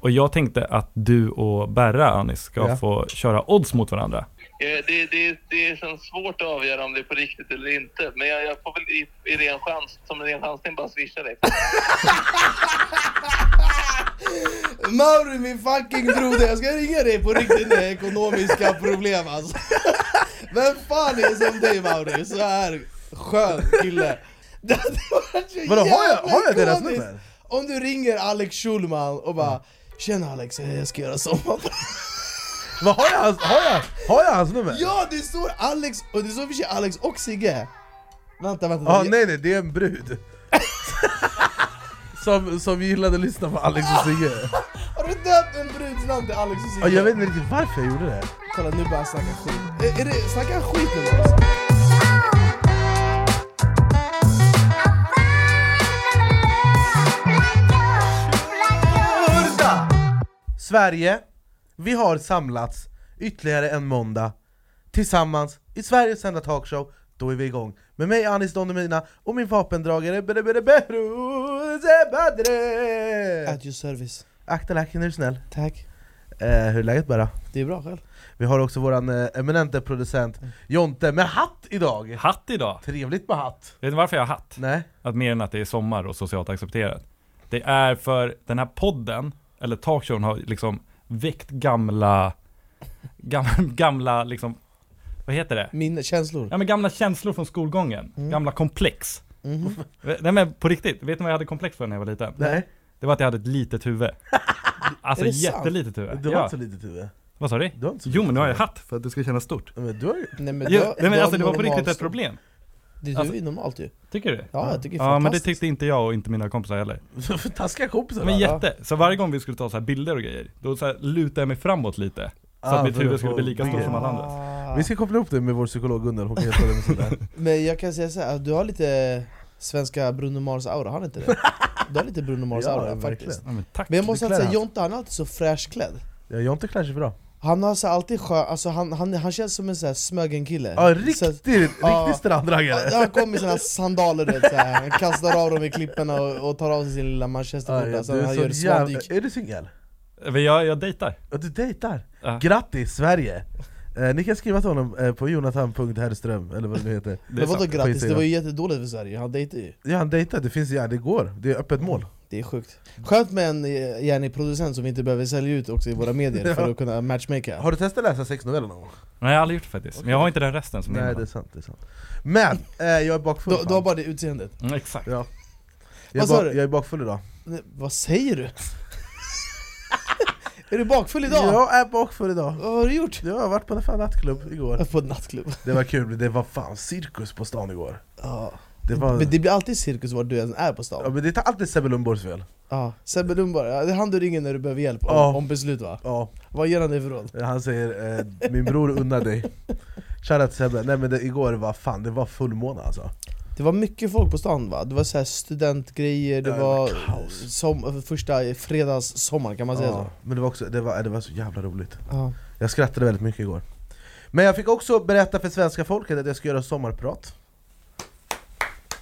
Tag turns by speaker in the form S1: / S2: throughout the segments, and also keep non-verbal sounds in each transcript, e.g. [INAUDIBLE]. S1: Och jag tänkte att du och Berra, Anis, ska
S2: Ja.
S1: få köra odds mot varandra.
S3: Eh, Det, det, det känns svårt att avgöra om det är på riktigt eller inte. Men jag, jag får väl i, i ren chans, som en ren chansning bara swisha dig.
S2: Mauri min fucking broder, jag ska ringa dig på riktigt med ekonomiska problem alltså. Vem fan är som dig Mauri? Så här skön kille. Det hade varit så
S4: Vadå, har jag-
S2: jävla
S4: har jag deras
S2: ikoniskt
S4: nummer? Mm.
S2: Om du ringer Alex Schulman och bara Tjena Alex, eh, jag ska göra sommarprat.
S4: Vad har jag hans, har jag, har jag hans nummer?
S2: [LAUGHS] Ja det står Alex, och det står i och för sig Alex och Sigge. Vänta, vänta.
S4: ah,
S2: jag-
S4: nej nej, det är en brud. [LAUGHS] som, som gillade att lyssna på Alex och Sigge.
S2: Har du döpt en bruds namn till Alex och Sigge?
S4: Ah, jag vet inte riktigt varför jag gjorde det.
S2: Kolla nu börjar han snacka skit. Eh, Är, är det, snackar han skit nu Mauri?
S4: Hurra! Sverige, vi har samlats ytterligare en måndag tillsammans i Sveriges enda talkshow. Då är vi igång med mig Anis Don Demina och min vapendragare Bere Bere Beru Zebadre!
S2: At your service.
S4: Akta lacken är du snäll.
S2: Tack.
S4: Eh, hur är läget bara?
S2: Det är bra själv.
S4: Vi har också våran eh, eminente producent Jonte med hatt idag!
S1: Hatt idag!
S4: Trevligt med hatt!
S1: Vet ni varför jag har hatt?
S4: Nej?
S1: Att mer än att det är sommar och socialt accepterat. Det är för den här podden, eller talkshowen, har liksom väckt gamla, gamla, [LAUGHS] gamla liksom, vad heter det?
S2: Mina känslor.
S1: Ja men gamla känslor från skolgången,
S2: Mm.
S1: gamla komplex. Nej men på riktigt, vet ni vad jag hade komplex för när jag var liten?
S4: Nej?
S1: Det var att jag hade ett litet
S2: [LAUGHS]
S1: huvud. Alltså
S2: Är det typ- sant?
S1: jättelitet huvud.
S4: Du har
S1: ja.
S4: inte så litet huvud.
S1: Vad sa du?
S4: Du har inte så
S1: Jo men nu har jag
S4: litet
S1: hatt för att det ska kännas stort.
S4: huvud. Men du har ju...
S2: Nej men,
S1: Jo,
S2: då-
S1: nej, men
S2: då
S1: alltså det var på
S2: normalt
S1: riktigt ett
S2: stor-
S1: problem.
S2: Det du
S1: Alltså-
S2: är ju normalt ju.
S1: Tycker du?
S2: Ja, jag tycker det är
S1: Ja men det
S2: fantastiskt.
S1: tyckte inte jag och inte mina kompisar heller.
S4: [LAUGHS] Taskiga kompisar!
S1: Men
S4: va?
S1: jätte, så varje gång vi skulle ta så här bilder och grejer, då så här lutade jag mig framåt lite. Så
S4: Ah,
S1: att mitt
S4: för
S1: huvud
S4: att
S1: skulle
S4: få
S1: bli lika stort
S4: bilder.
S1: som alla andras.
S2: Ah.
S4: Vi ska koppla upp det med vår psykolog Gunnel, hon kan hjälpa dig med
S1: [LAUGHS]
S4: sånt där
S2: Men jag kan säga så här, att du har lite svenska Bruno Mars aura, har du inte det? Du har lite Bruno Mars
S4: Ja,
S2: aura
S4: verkligen.
S2: faktiskt.
S1: Ja, men tack.
S2: Men jag måste
S4: Du klär
S2: säga,
S4: han.
S2: Jonte han är alltid så fräschklädd.
S4: ja, Jag har inte klär sig bra
S2: Han har så här alltid skön, alltså han, han, han känns som en så här smögen kille.
S4: Ja,
S2: Så att-
S4: riktigt, riktigt
S2: Ja,
S4: stranddragare!
S2: Han kommer i sina sandaler du vet, så här. han kastar av dem i klipporna och, och tar av sig sin lilla
S4: Ja,
S2: manchesterskjorta,
S4: ja,
S2: så alltså,
S4: du
S2: han
S4: är
S2: gör
S4: så jävla...
S2: svandyk.
S4: Är du singel?
S1: Men jag, jag dejtar.
S4: Ja, du dejtar!
S1: Ja.
S4: Grattis Sverige! Eh, ni kan skriva till honom eh, på jonathan.herrström, eller vad det nu heter
S1: Det är
S2: Men vadå
S1: sant.
S2: grattis,
S4: Skit i
S2: det
S4: det.
S2: var ju jättedåligt för Sverige, han dejtade ju.
S4: Ja han dejtar, det finns ja, det går, det är öppet mål
S2: Det är sjukt. Skönt med en eh, gärnig producent som vi inte behöver sälja ut också i våra
S4: [LAUGHS]
S2: medier för
S4: Ja.
S2: att kunna matchmaka.
S4: Har du testat läsa sexnoveller någon gång?
S1: Nej jag har aldrig gjort det faktiskt, men jag har inte den resten som
S4: Nej
S1: Nej,
S4: det är sant, det är sant Men, eh, jag är bakfull
S2: Du, du har
S4: fan.
S2: bara det utseendet.
S1: mm, Exakt.
S4: ja. jag, är
S2: Vad sa
S4: bak,
S2: du?
S4: jag är bakfull idag
S2: Nej, vad säger du? [LAUGHS] är du bakfull idag?
S4: Jag är bakfull idag
S2: Vad har du gjort?
S4: Jag har varit på en fan nattklubb igår
S2: [LAUGHS] På en nattklubb.
S4: Det var kul, det var fan cirkus på stan igår
S2: Ja.
S4: Det var...
S2: Men det blir alltid cirkus var du än är på
S4: Ja,
S2: stan.
S4: men det är alltid Sebbe Lundborgs fel.
S2: Ja. Sebbe Lundborg, ja, det är han du ringer när du behöver hjälp om,
S4: Ja.
S2: om beslut va?
S4: Ja,
S2: Vad ger han dig för råd?
S4: han säger eh, 'min bror unnar dig' Shoutout till Sebbe, nej men det, igår var fan, det var fullmåne alltså
S2: Det var mycket folk på stan va? Det var så här studentgrejer, det
S4: Ja, det
S2: var
S4: var kaos.
S2: som, första fredagssommaren kan man säga
S4: ja, Men det var också, det var, det var så jävla roligt
S2: så? Ja.
S4: Jag skrattade väldigt mycket igår Men jag fick också berätta för svenska folket att jag ska göra sommarprat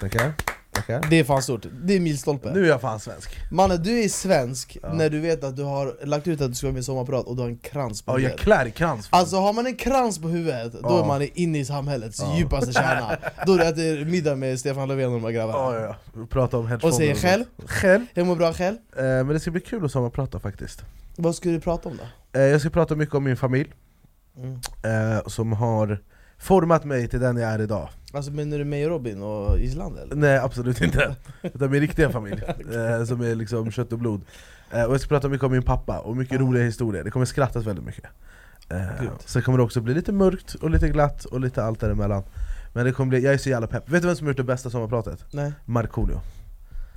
S4: Tackar, tackar
S2: Det är fan stort, det är milstolpe.
S4: Nu är jag fan svensk!
S2: Mannen du är svensk
S4: Ja.
S2: när du vet att du har lagt ut att du ska vara med i Sommarprat och du har en krans på
S4: Ja, jag
S2: huvudet
S4: klär i krans fan.
S2: Alltså har man en krans på huvudet, då
S4: Ja.
S2: är man inne i samhällets
S4: Ja.
S2: djupaste kärna Då är det att det är middag med Stefan Löfven och de här grabbarna
S4: ja, ja, ja. Prata om headphone
S2: Och säger själv,
S4: Själv,
S2: hur mår bra själv?
S4: eh, men det ska bli kul att sommarprata faktiskt
S2: Vad ska du prata om då?
S4: eh, Jag ska prata mycket om min familj
S2: Mm.
S4: eh, som har format mig till den jag är idag.
S2: Alltså menar du mig och Robin och Islanda eller?
S4: Nej absolut inte, utan min riktiga
S2: [LAUGHS]
S4: familj eh, som är liksom kött och blod. Eh, och jag ska prata mycket om min pappa och mycket roliga historier, det kommer skrattas väldigt mycket. Eh,
S2: Gud.
S4: sen kommer det också bli lite mörkt och lite glatt och lite allt däremellan. Men det kommer bli, jag är så jävla pepp. Vet du vem som har gjort det bästa sommarpratet?
S2: Nej?
S4: Markoolio.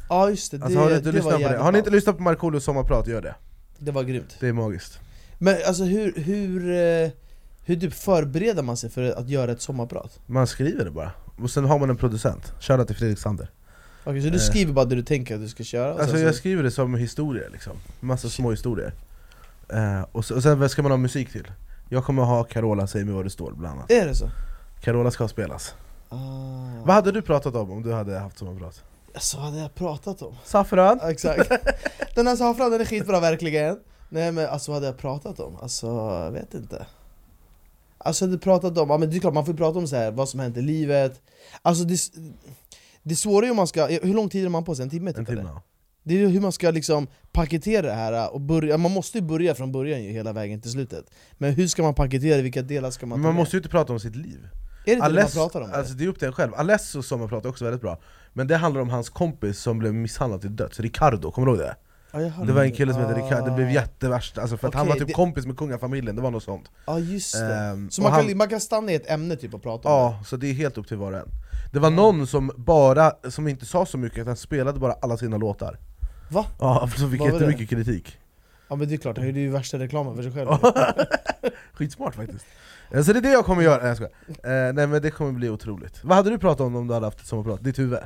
S2: Ja just det, det,
S4: Alltså, har du inte
S2: det var
S4: lyssnat på det?
S2: jävligt
S4: Har ni
S2: bra.
S4: inte lyssnat på Markoolios sommarprat, gör det.
S2: Det var grymt
S4: Det är magiskt.
S2: Men alltså hur, hur, eh, hur typ förbereder man sig för att göra ett sommarprat?
S4: Man skriver det bara. Och sen har man en producent. Shoutout till Fredrik Sander.
S2: Okej så du
S4: Eh.
S2: skriver bara det du tänker att du ska köra? och
S4: Alltså
S2: sen
S4: jag
S2: så,
S4: skriver det som historier liksom, massa små historier Eh, och, så, och sen vad ska man ha musik till? Jag kommer ha Carola, säg mig vad det står bland annat
S2: är det så?
S4: Carola ska spelas
S2: Ah.
S4: Vad hade du pratat om om du hade haft sommarprat?
S2: Alltså vad hade jag pratat om?
S4: Saffran?
S2: [LAUGHS] Ja, Exakt. Den här saffran den är skitbra verkligen. Nej men alltså vad hade jag pratat om? Alltså, jag vet inte Alltså jag hade pratat om, ja men det är klart man får ju prata om så här, vad som hänt i livet Alltså det, det svåra är ju om man ska, hur lång tid är man på sig? En timme? Typ,
S4: En timme.
S2: eller?
S4: ja.
S2: Det är ju hur man ska liksom paketera det här och börja, man måste ju börja från början ju hela vägen till slutet Men hur ska man paketera det, vilka delar ska man
S4: Men
S2: ta
S4: man
S2: med?
S4: måste ju inte prata om sitt liv.
S2: Är det det man
S4: Aless-
S2: pratar om?
S4: alltså det är upp till en själv. Alesso som jag pratar också väldigt bra. Men det handlar om hans kompis som blev misshandlad till döds, Ricardo, kommer du ihåg det?
S2: Ja, jag hörde
S4: Det var en kille som hette Ricardo, det blev
S2: Ah.
S4: jättevärst, alltså för att han
S2: Okej,
S4: var typ
S2: det-
S4: kompis med kungafamiljen, det var något sånt
S2: Ja just det,
S4: Ehm,
S2: så
S4: och
S2: man kan,
S4: han-
S2: man kan stanna i ett ämne typ och prata om det?
S4: Ja, så det är helt upp till var och en Det var någon som bara, som inte sa så mycket, utan spelade bara alla sina låtar
S2: Va?
S4: Ja, som fick
S2: Vad var det?
S4: jättemycket
S2: [LAUGHS]
S4: kritik
S2: Ja men det är klart, det är ju värsta reklamen för sig själv
S4: Skitsmart faktiskt Eh, Så det är det jag kommer göra, nej jag skojar. Eh, Nej men det kommer bli otroligt Vad hade du pratat om om du hade haft ett sommarprat? Ditt huvud?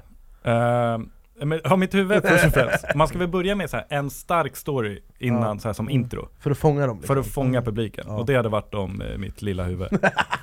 S1: Eh, men, ja, mitt huvud först och främst. Man ska väl börja med så här, en stark story innan så här, som intro.
S4: För att fånga dem
S1: För
S4: liksom.
S1: att fånga publiken.
S4: Ja.
S1: Och det hade varit om eh, mitt lilla huvud.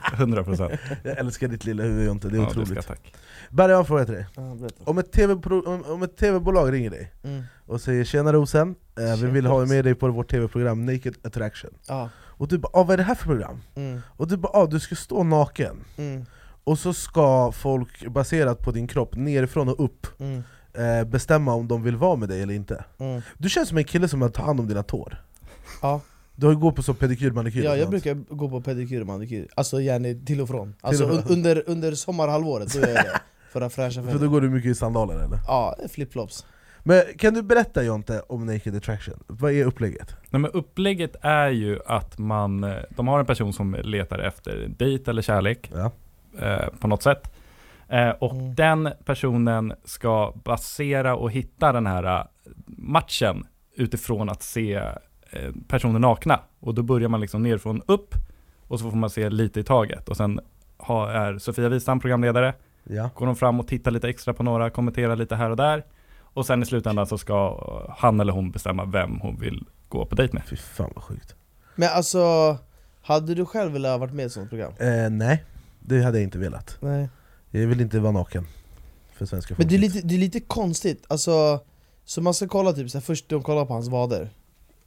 S1: 100%.
S4: liksom. Jag älskar ditt lilla huvud Jonte, det är
S1: Ja,
S4: otroligt
S1: ska, tack.
S4: Berra, jag har en fråga till dig
S2: Ja, berätta.
S4: Om ett TV-pro- om- om ett TV-bolag ringer dig
S2: Mm.
S4: och säger 'Tjena Rosen, eh, vi
S2: Tjena,
S4: vill ha
S2: Rosen."
S4: med dig på vårt TV-program Naked Attraction'
S2: Ja,
S4: Och du bara ah, 'Vad är det här för program?'
S2: mm,
S4: Och du bara ah, 'Du ska stå naken'
S2: mm,
S4: Och så ska folk baserat på din kropp, nerifrån och upp,
S2: mm,
S4: eh, bestämma om de vill vara med dig eller inte
S2: mm.
S4: Du känns som en kille som tar hand om dina tår
S2: Ja.
S4: Du har ju gått på så pedikyr manikyr
S2: ja,
S4: och
S2: jag
S4: sånt.
S2: brukar gå på pedikyr och manikyr, alltså gärna till och från Alltså
S4: och
S2: un-
S4: från.
S2: under, under sommarhalvåret, då gör
S4: [LAUGHS]
S2: jag det För att fräscha
S4: För då
S2: färgen
S4: går du mycket i sandaler eller?
S2: Ja, flipflops
S4: Men kan du berätta Jonte om Naked Attraction? Vad är upplägget?
S1: Nej, men upplägget är ju att man, eh, de har en person som letar efter dejt eller kärlek
S4: Ja.
S1: eh, på något sätt. Eh, och
S2: Mm.
S1: den personen ska basera och hitta den här eh, matchen utifrån att se eh, personer nakna. Och då börjar man liksom nerifrån upp och så får man se lite i taget. Och sen har, är Sofia Wistam programledare
S4: ja.
S1: går de fram och tittar lite extra på några, kommenterar lite här och där. Och sen i slutändan så ska eh, han eller hon bestämma vem hon vill gå på dejt med.
S4: Fy fan vad sjukt
S2: Men alltså, hade du själv velat ha varit med i ett sånt program?
S4: eh, Nej, det hade jag inte velat
S2: Nej
S4: Jag vill inte vara naken för svenska
S2: Men
S4: folket.
S2: det är lite, det är lite konstigt, alltså Så man ska kolla typ, så här, först de kollar på hans vader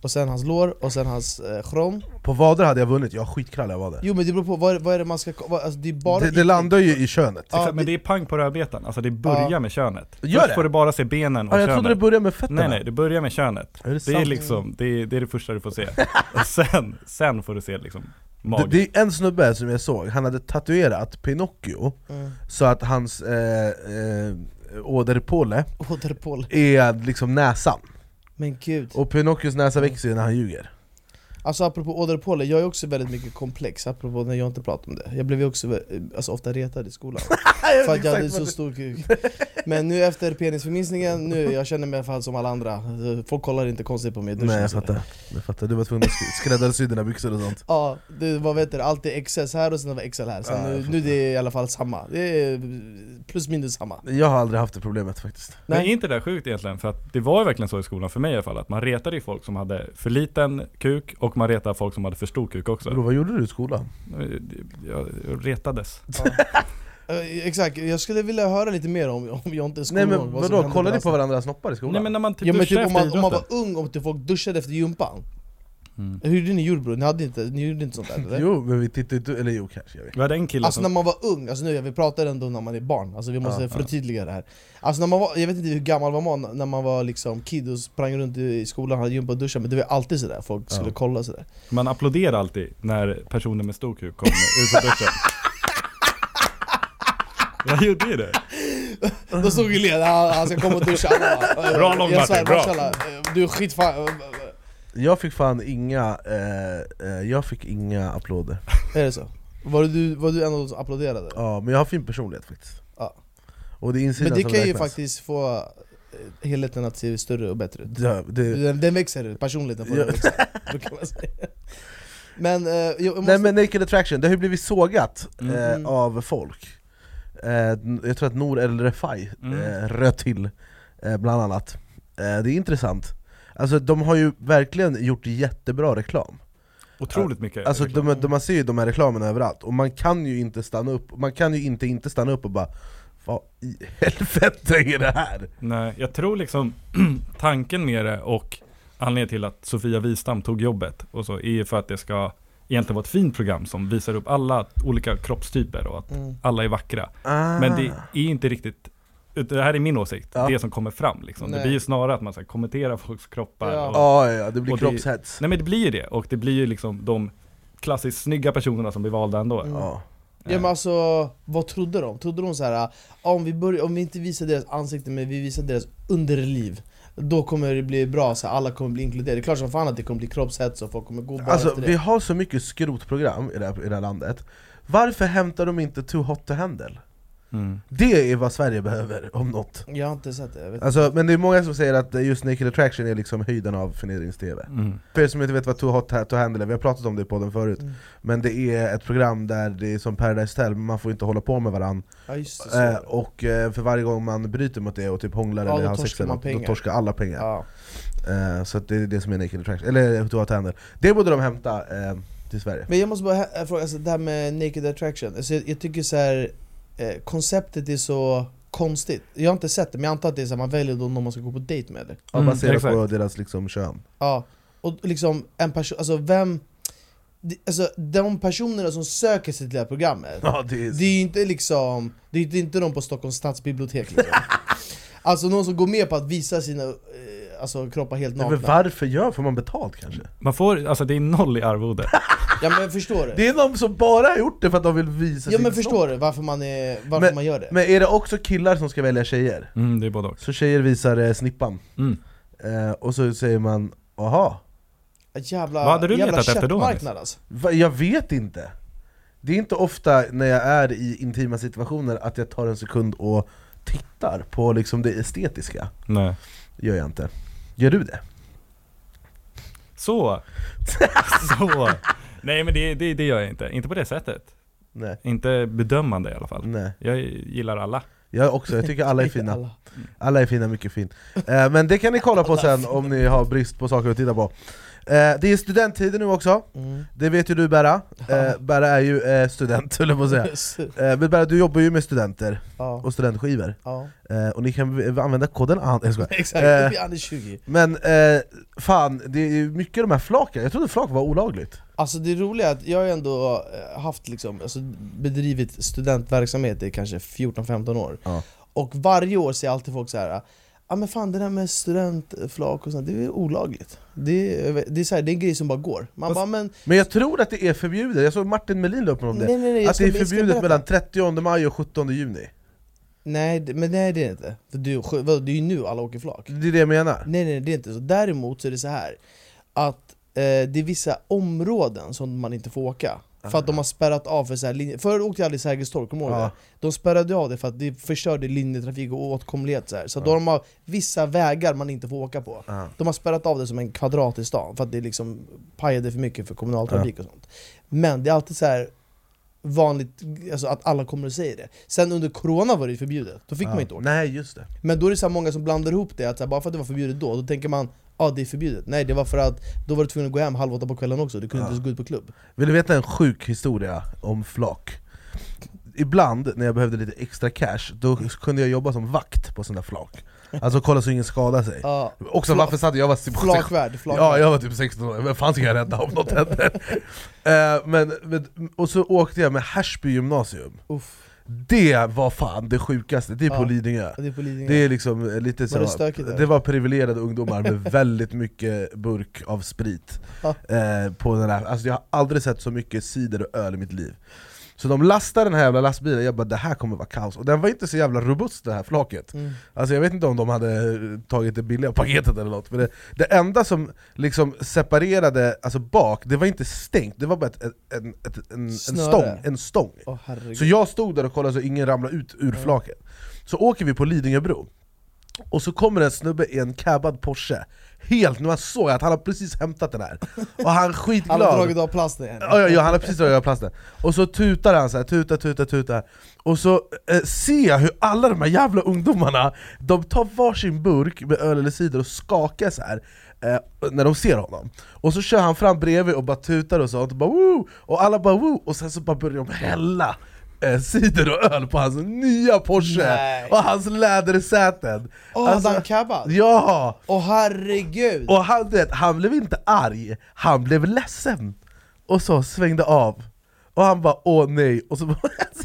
S2: och sen hans lår, och sen hans eh, chrom
S4: På vader hade jag vunnit, jag har skitkrall när jag var där.
S2: Alltså, Jo men det beror på, vad, är- vad är det man ska ko- vad, alltså, det är bara
S4: det, det landar ju i könet.
S2: Ja,
S1: Exakt, men det är pang på rödbetan, alltså det börjar med könet.
S4: Gör
S1: Först
S4: det?
S1: får du bara se benen och
S4: Ah, jag
S1: könet.
S4: trodde det började med fötterna.
S1: nej nej, det börjar med könet.
S4: Är det,
S1: Det är
S4: sant?
S1: liksom, det är, det är det första du får se. Och sen, sen får du se liksom
S4: det,
S1: magen.
S4: det är en snubbe som jag såg, han hade tatuerat Pinocchio
S2: Mm.
S4: så att hans eh, eh, åderpåle
S2: Återpål,
S4: är liksom näsan.
S2: men gud
S4: Och Pinocchios näsa
S2: Mm.
S4: växer ju när han ljuger.
S2: Alltså apropå åderpåle, jag är också väldigt mycket komplex, apropå när jag inte pratar om det Jag blev ju också eh, alltså, ofta retad
S4: [LAUGHS]
S2: i skolan, för att jag hade så stor kuk Men nu efter penisförminskningen, nu, jag känner mig i alla fall som alla andra Folk kollar inte konstigt på mig i duschen
S4: Nej jag
S2: så.
S4: fattar, jag fattar. du var tvungen att sk-
S2: [LAUGHS]
S4: skräddarsy dina byxor och sånt.
S2: Ja, det var vet du, alltid XS här och sen var det XL här, så
S4: Ja, jag
S2: nu,
S4: fattar.
S2: nu det är i alla fall samma Det är plus minus samma
S4: Jag har aldrig haft det problemet faktiskt.
S1: Men är
S2: Nej.
S1: inte det där sjukt egentligen? För att det var ju verkligen så i skolan, för mig i alla fall, att man retade ju folk som hade för liten kuk och man retade folk som hade för stor kuk
S4: Bro,
S1: också. Eh,
S4: vad gjorde du i skolan?
S1: Jag, jag retades.
S2: Eh, Exakt, jag skulle vilja höra lite mer om, om Jontes
S4: Nej
S2: skolgång
S4: men
S2: vad som
S4: vadå,
S2: hände
S4: kollade ni
S2: hans-
S4: på varandras snoppar i skolan?
S1: Nej men när man typ
S2: Ja men
S1: duschar
S2: typ om man,
S1: efter
S2: om man var
S1: idrotten.
S2: ung, om typ folk duschade efter gympan
S1: Mm.
S2: Hur gjorde ni gjorde bror? Ni, hade inte, ni gjorde inte sånt där eller?
S4: Jo, men vi tittade inte, eller jo kanske, jag vet.
S1: Vi hade en kille
S2: Alltså
S1: som
S2: när man var ung, alltså nu, vi pratar ändå när man är barn, alltså vi måste
S4: Ja,
S2: förtydliga det här Alltså när man var, jag vet inte hur gammal var man när man var liksom kid och sprang runt i i skolan, hade gympa och duschade, men det var alltid sådär, folk skulle
S4: Ja.
S2: kolla sådär
S1: Man applåderar alltid när personer med stor kuk kommer ut från duschen. Jag gjorde ju det.
S2: Då stod ju Lena, han, han ska komma och duscha Alla bara,
S1: [LAUGHS]
S2: eh,
S1: Bra lång,
S2: jag
S1: Martin,
S2: svär,
S1: bra.
S2: Marshalla, eh, Du är skitfan... eh,
S4: Jag fick fan inga, eh, eh, jag fick inga applåder
S2: Är det så? Var du, var du en av de som applåderade?
S4: Ja, men jag har fin personlighet faktiskt
S2: Ja.
S4: Och det är insidan
S2: Men det
S4: som
S2: kan ju
S4: räknas.
S2: faktiskt få eh, helheten att se större och bättre ut
S4: Ja, det,
S2: Den, den växer, personligheten får den
S4: Ja.
S2: växa då kan man säga. Men eh, jag jag måste...
S4: Nej men Naked Attraction, det har ju blivit sågat
S1: Mm.
S4: eh,
S2: Mm.
S4: av folk eh, Jag tror att Nour El Refai eh,
S1: Mm.
S4: röt till, eh, bland annat eh, Det är intressant Alltså de har ju verkligen gjort jättebra reklam
S1: Otroligt mycket.
S4: Alltså
S1: reklam.
S4: de, de, man ser ju de här reklamerna överallt, och man kan ju inte stanna upp, man kan ju inte inte stanna upp och bara Vad i helvete är det här?
S1: [CLEARS THROAT] Nej, jag tror liksom tanken med det och anledningen till att Sofia Wistam tog jobbet och så är ju för att det ska egentligen vara ett fint program som visar upp alla olika kroppstyper och att
S2: Mm.
S1: alla är vackra.
S4: Ah.
S1: Men det är inte riktigt, utan det här är min åsikt,
S4: Ja.
S1: det som kommer fram liksom. Det
S2: Nej.
S1: blir ju snarare att man så här, kommenterar folks kroppar.
S2: Ja.
S1: Och,
S4: Ja, ja, det blir
S1: Och det-
S4: kroppshets.
S1: Nej men det blir ju det, och det blir ju liksom de klassiskt snygga personerna som blir valda ändå.
S2: Mm.
S4: Ja.
S2: Ja men alltså, vad trodde de? Trodde de så här "Ah, om vi, börjar, om vi inte visar deras ansikten men vi visar deras underliv Då kommer det bli bra, så här, alla kommer bli inkluderade, det är klart som fan att det kommer bli kroppshets och folk kommer gå bara
S4: Alltså
S2: efter det
S4: vi har så mycket skrotprogram i det, här, i det här landet Varför hämtar de inte Too Hot To Handle?
S1: Mm.
S4: Det är vad Sverige behöver, om något
S2: Jag har inte sett det, jag vet
S4: Alltså, men det är många som säger att just Naked Attraction är liksom höjden av förnedrings-tv
S1: Mm.
S4: För er som inte vet vad Too Hot To Handle är, vi har pratat om det i podden förut
S2: Mm.
S4: Men det är ett program där det är som Paradise Hotel, men man får inte hålla på med varandra
S2: Ja just det, så.
S4: eh, Och eh, för varje gång man bryter mot det och typ hånglar
S2: Ja,
S4: eller
S2: då
S4: har sex
S2: torskar
S4: eller
S2: man
S4: något, då
S2: pengar.
S4: torskar alla pengar
S2: ja.
S4: eh, Så att det är det som är Naked Attraction, eller eh, Too Hot To Handle Det borde de hämta eh, till Sverige
S2: Men jag måste bara hä- fråga, alltså, det här med naked attraction, alltså, jag, jag tycker så här eh, konceptet är så konstigt Jag har inte sett det, men jag antar att det är så här, man väljer då någon man ska gå på dejt med eller?
S4: Ja,
S1: Mm,
S4: baserat på
S1: exakt.
S4: deras liksom kön.
S2: Ja, och liksom en person, alltså vem... det- Alltså de personerna som söker sig till det här programmet
S4: Ja, det är...
S2: Det är ju inte liksom, det är ju inte de på Stockholms stadsbibliotek liksom
S4: [LAUGHS]
S2: Alltså någon som går med på att visa sina eh, alltså, kroppar helt
S4: Nej, men
S2: nakna
S4: varför gör Får man betalt kanske?
S2: Mm.
S1: Man får, alltså det är noll i arvode.
S2: Ja men jag förstår det,
S4: Det är de som bara har gjort det för att de vill visa
S2: ja
S4: sin
S2: men
S4: snopp.
S2: förstår det varför man, är, varför man gör det
S4: Men är det också killar som ska välja tjejer?
S1: Mm, det är både och.
S4: Så tjejer visar eh, snippan,
S1: Mm.
S4: eh, och så säger man aha,
S2: Jävla,
S1: Vad hade du
S2: jävla
S1: letat efter då, Anis?
S2: köttmarknad alltså [LAUGHS]
S4: Va, jag vet inte Det är inte ofta när jag är i intima situationer att jag tar en sekund och tittar på liksom det estetiska
S1: Nej.
S4: Gör jag inte Gör du det?
S1: Så! Så! Nej men det, det, det gör jag inte, inte på det sättet.
S4: Nej,
S1: Inte bedömande i alla fall.
S4: nej
S1: Jag gillar alla.
S4: Jag också, jag tycker alla är
S2: [LAUGHS] Inte
S4: fina
S2: alla.
S4: Alla är fina, mycket fin. Eh, men det kan ni kolla på sen om ni har brist på saker att titta på. Eh, det är studenttider nu också,
S2: Mm.
S4: det vet ju du Berra. Eh, Berra är ju eh, student, höll jag på att säga. Eh, men Berra, du jobbar ju med studenter
S2: ja,
S4: och studentskivor.
S2: ja,
S4: Eh, och ni kan v- använda koden an- jag skojar.
S2: [LAUGHS] exakt,
S4: Eh.
S2: det blir Anders 20
S4: Men eh, fan, det är ju mycket av de här flaken, jag trodde flak var olagligt.
S2: Alltså det roliga är att jag har ju ändå eh, haft liksom, alltså bedrivit studentverksamhet i kanske 14-15 år
S4: Ja.
S2: Och varje år ser alltid folk så här. Ja men fan det där med studentflak och sånt, det är olagligt Det är, det är, så här, det är en grej som bara går Man
S1: Fast-
S2: bara men,
S4: Men jag tror att det är förbjudet, jag såg Martin Melin la upp om det.
S2: nej nej nej jag
S4: att det är
S2: ska- jag ska
S4: förbjudet
S2: berätta.
S4: mellan 30 maj och 17 juni.
S2: Nej det- men nej det är det inte, för det är, ju- vadå, det är ju nu alla åker flak
S4: Det är det jag menar.
S2: Nej nej det är inte så, däremot så är det så här Att eh, det är vissa områden som man inte får åka för att de har spärrat av för så här linjer. Förr åkte jag aldrig Sergels torg, kommer du ihåg
S4: Ja.
S2: det? De spärrade av det för att det förstörde linjetrafik och åtkomlighet så, här. så då har de har vissa vägar man inte får åka på
S4: Ja.
S2: De har spärrat av det som en kvadrat i stan för att det liksom pajade för mycket för kommunal trafik och sånt Men det är alltid så här vanligt alltså att alla kommer och säger det Sen under corona var det ju förbjudet, då fick man
S4: Ja.
S2: ju inte åka
S4: Nej just det.
S2: men då är det så här många som blandar ihop det, att så här, bara för att det var förbjudet då, då tänker man Ja ah, det är förbjudet, nej det var för att då var du tvungen att gå hem halv åtta på kvällen också, du kunde
S4: Ja.
S2: inte ens gå ut på klubb
S4: Vill du veta en sjuk historia om flak? Ibland när jag behövde lite extra cash, då kunde jag jobba som vakt på sådana flak Alltså kolla så ingen skadar sig [LAUGHS]
S2: Ja,
S4: Också
S2: Fla-
S4: varför satt jag var typ
S2: Flakvärd,
S4: Ja,
S2: flakvärd
S4: jag var typ 16 år, men fan ska jag rädda om något händer?
S2: [LAUGHS]
S4: Eh, men, men, och så åkte jag med Härsby gymnasium
S2: Uff,
S4: Det var fan det sjukaste, det är på
S2: Ja.
S4: Lidingö
S2: det är på Lidingö
S4: Det är liksom eh, lite så,
S2: det stökigt där?
S4: det var privilegierade ungdomar med väldigt mycket burk av sprit
S2: Ja.
S4: eh, på den här. Alltså jag har aldrig sett så mycket cider och öl i mitt liv Så de lastade den här jävla lastbilen, jag bara det här kommer vara kaos, och den var inte så jävla robust det här flaket
S2: Mm.
S4: Alltså jag vet inte om de hade eh, tagit det billiga paketet eller något, men det, det enda som liksom separerade, alltså bak, det var inte stängt, det var bara ett, ett, en, ett, en, en
S2: Snöre.
S4: stång, en stång
S2: Åh herregud
S4: så jag stod där och kollade så ingen ramlade ut ur flaket Så åker vi på Lidingöbro Och så kommer en snubbe i en cabbad Porsche Helt, nu han såg jag att han har precis hämtat den här Och han är skitglad
S2: Alla har dragit av plasten igen
S4: Ja, ja, ja, han har precis dragit av plasten. Och så tutar han så här, tutar, tutar, tutar. Och så eh, ser jag hur alla de här jävla ungdomarna, de tar varsin burk med öl eller cider och skakar så här eh, när de ser honom. Och så kör han fram bredvid och bara tutar och sånt, och, bara, Woo! och alla bara Woo! och sen så bara börjar de hälla eh, cider och öl på hans nya Porsche
S2: Nej.
S4: och hans lädersäten.
S2: Åh,
S4: Alltså-
S2: hade han cabbat?
S4: Ja!
S2: Åh herregud!
S4: Och han, du vet, han blev inte arg, han blev ledsen! Och så svängde av. Och han bara åh nej, och så [LAUGHS] bara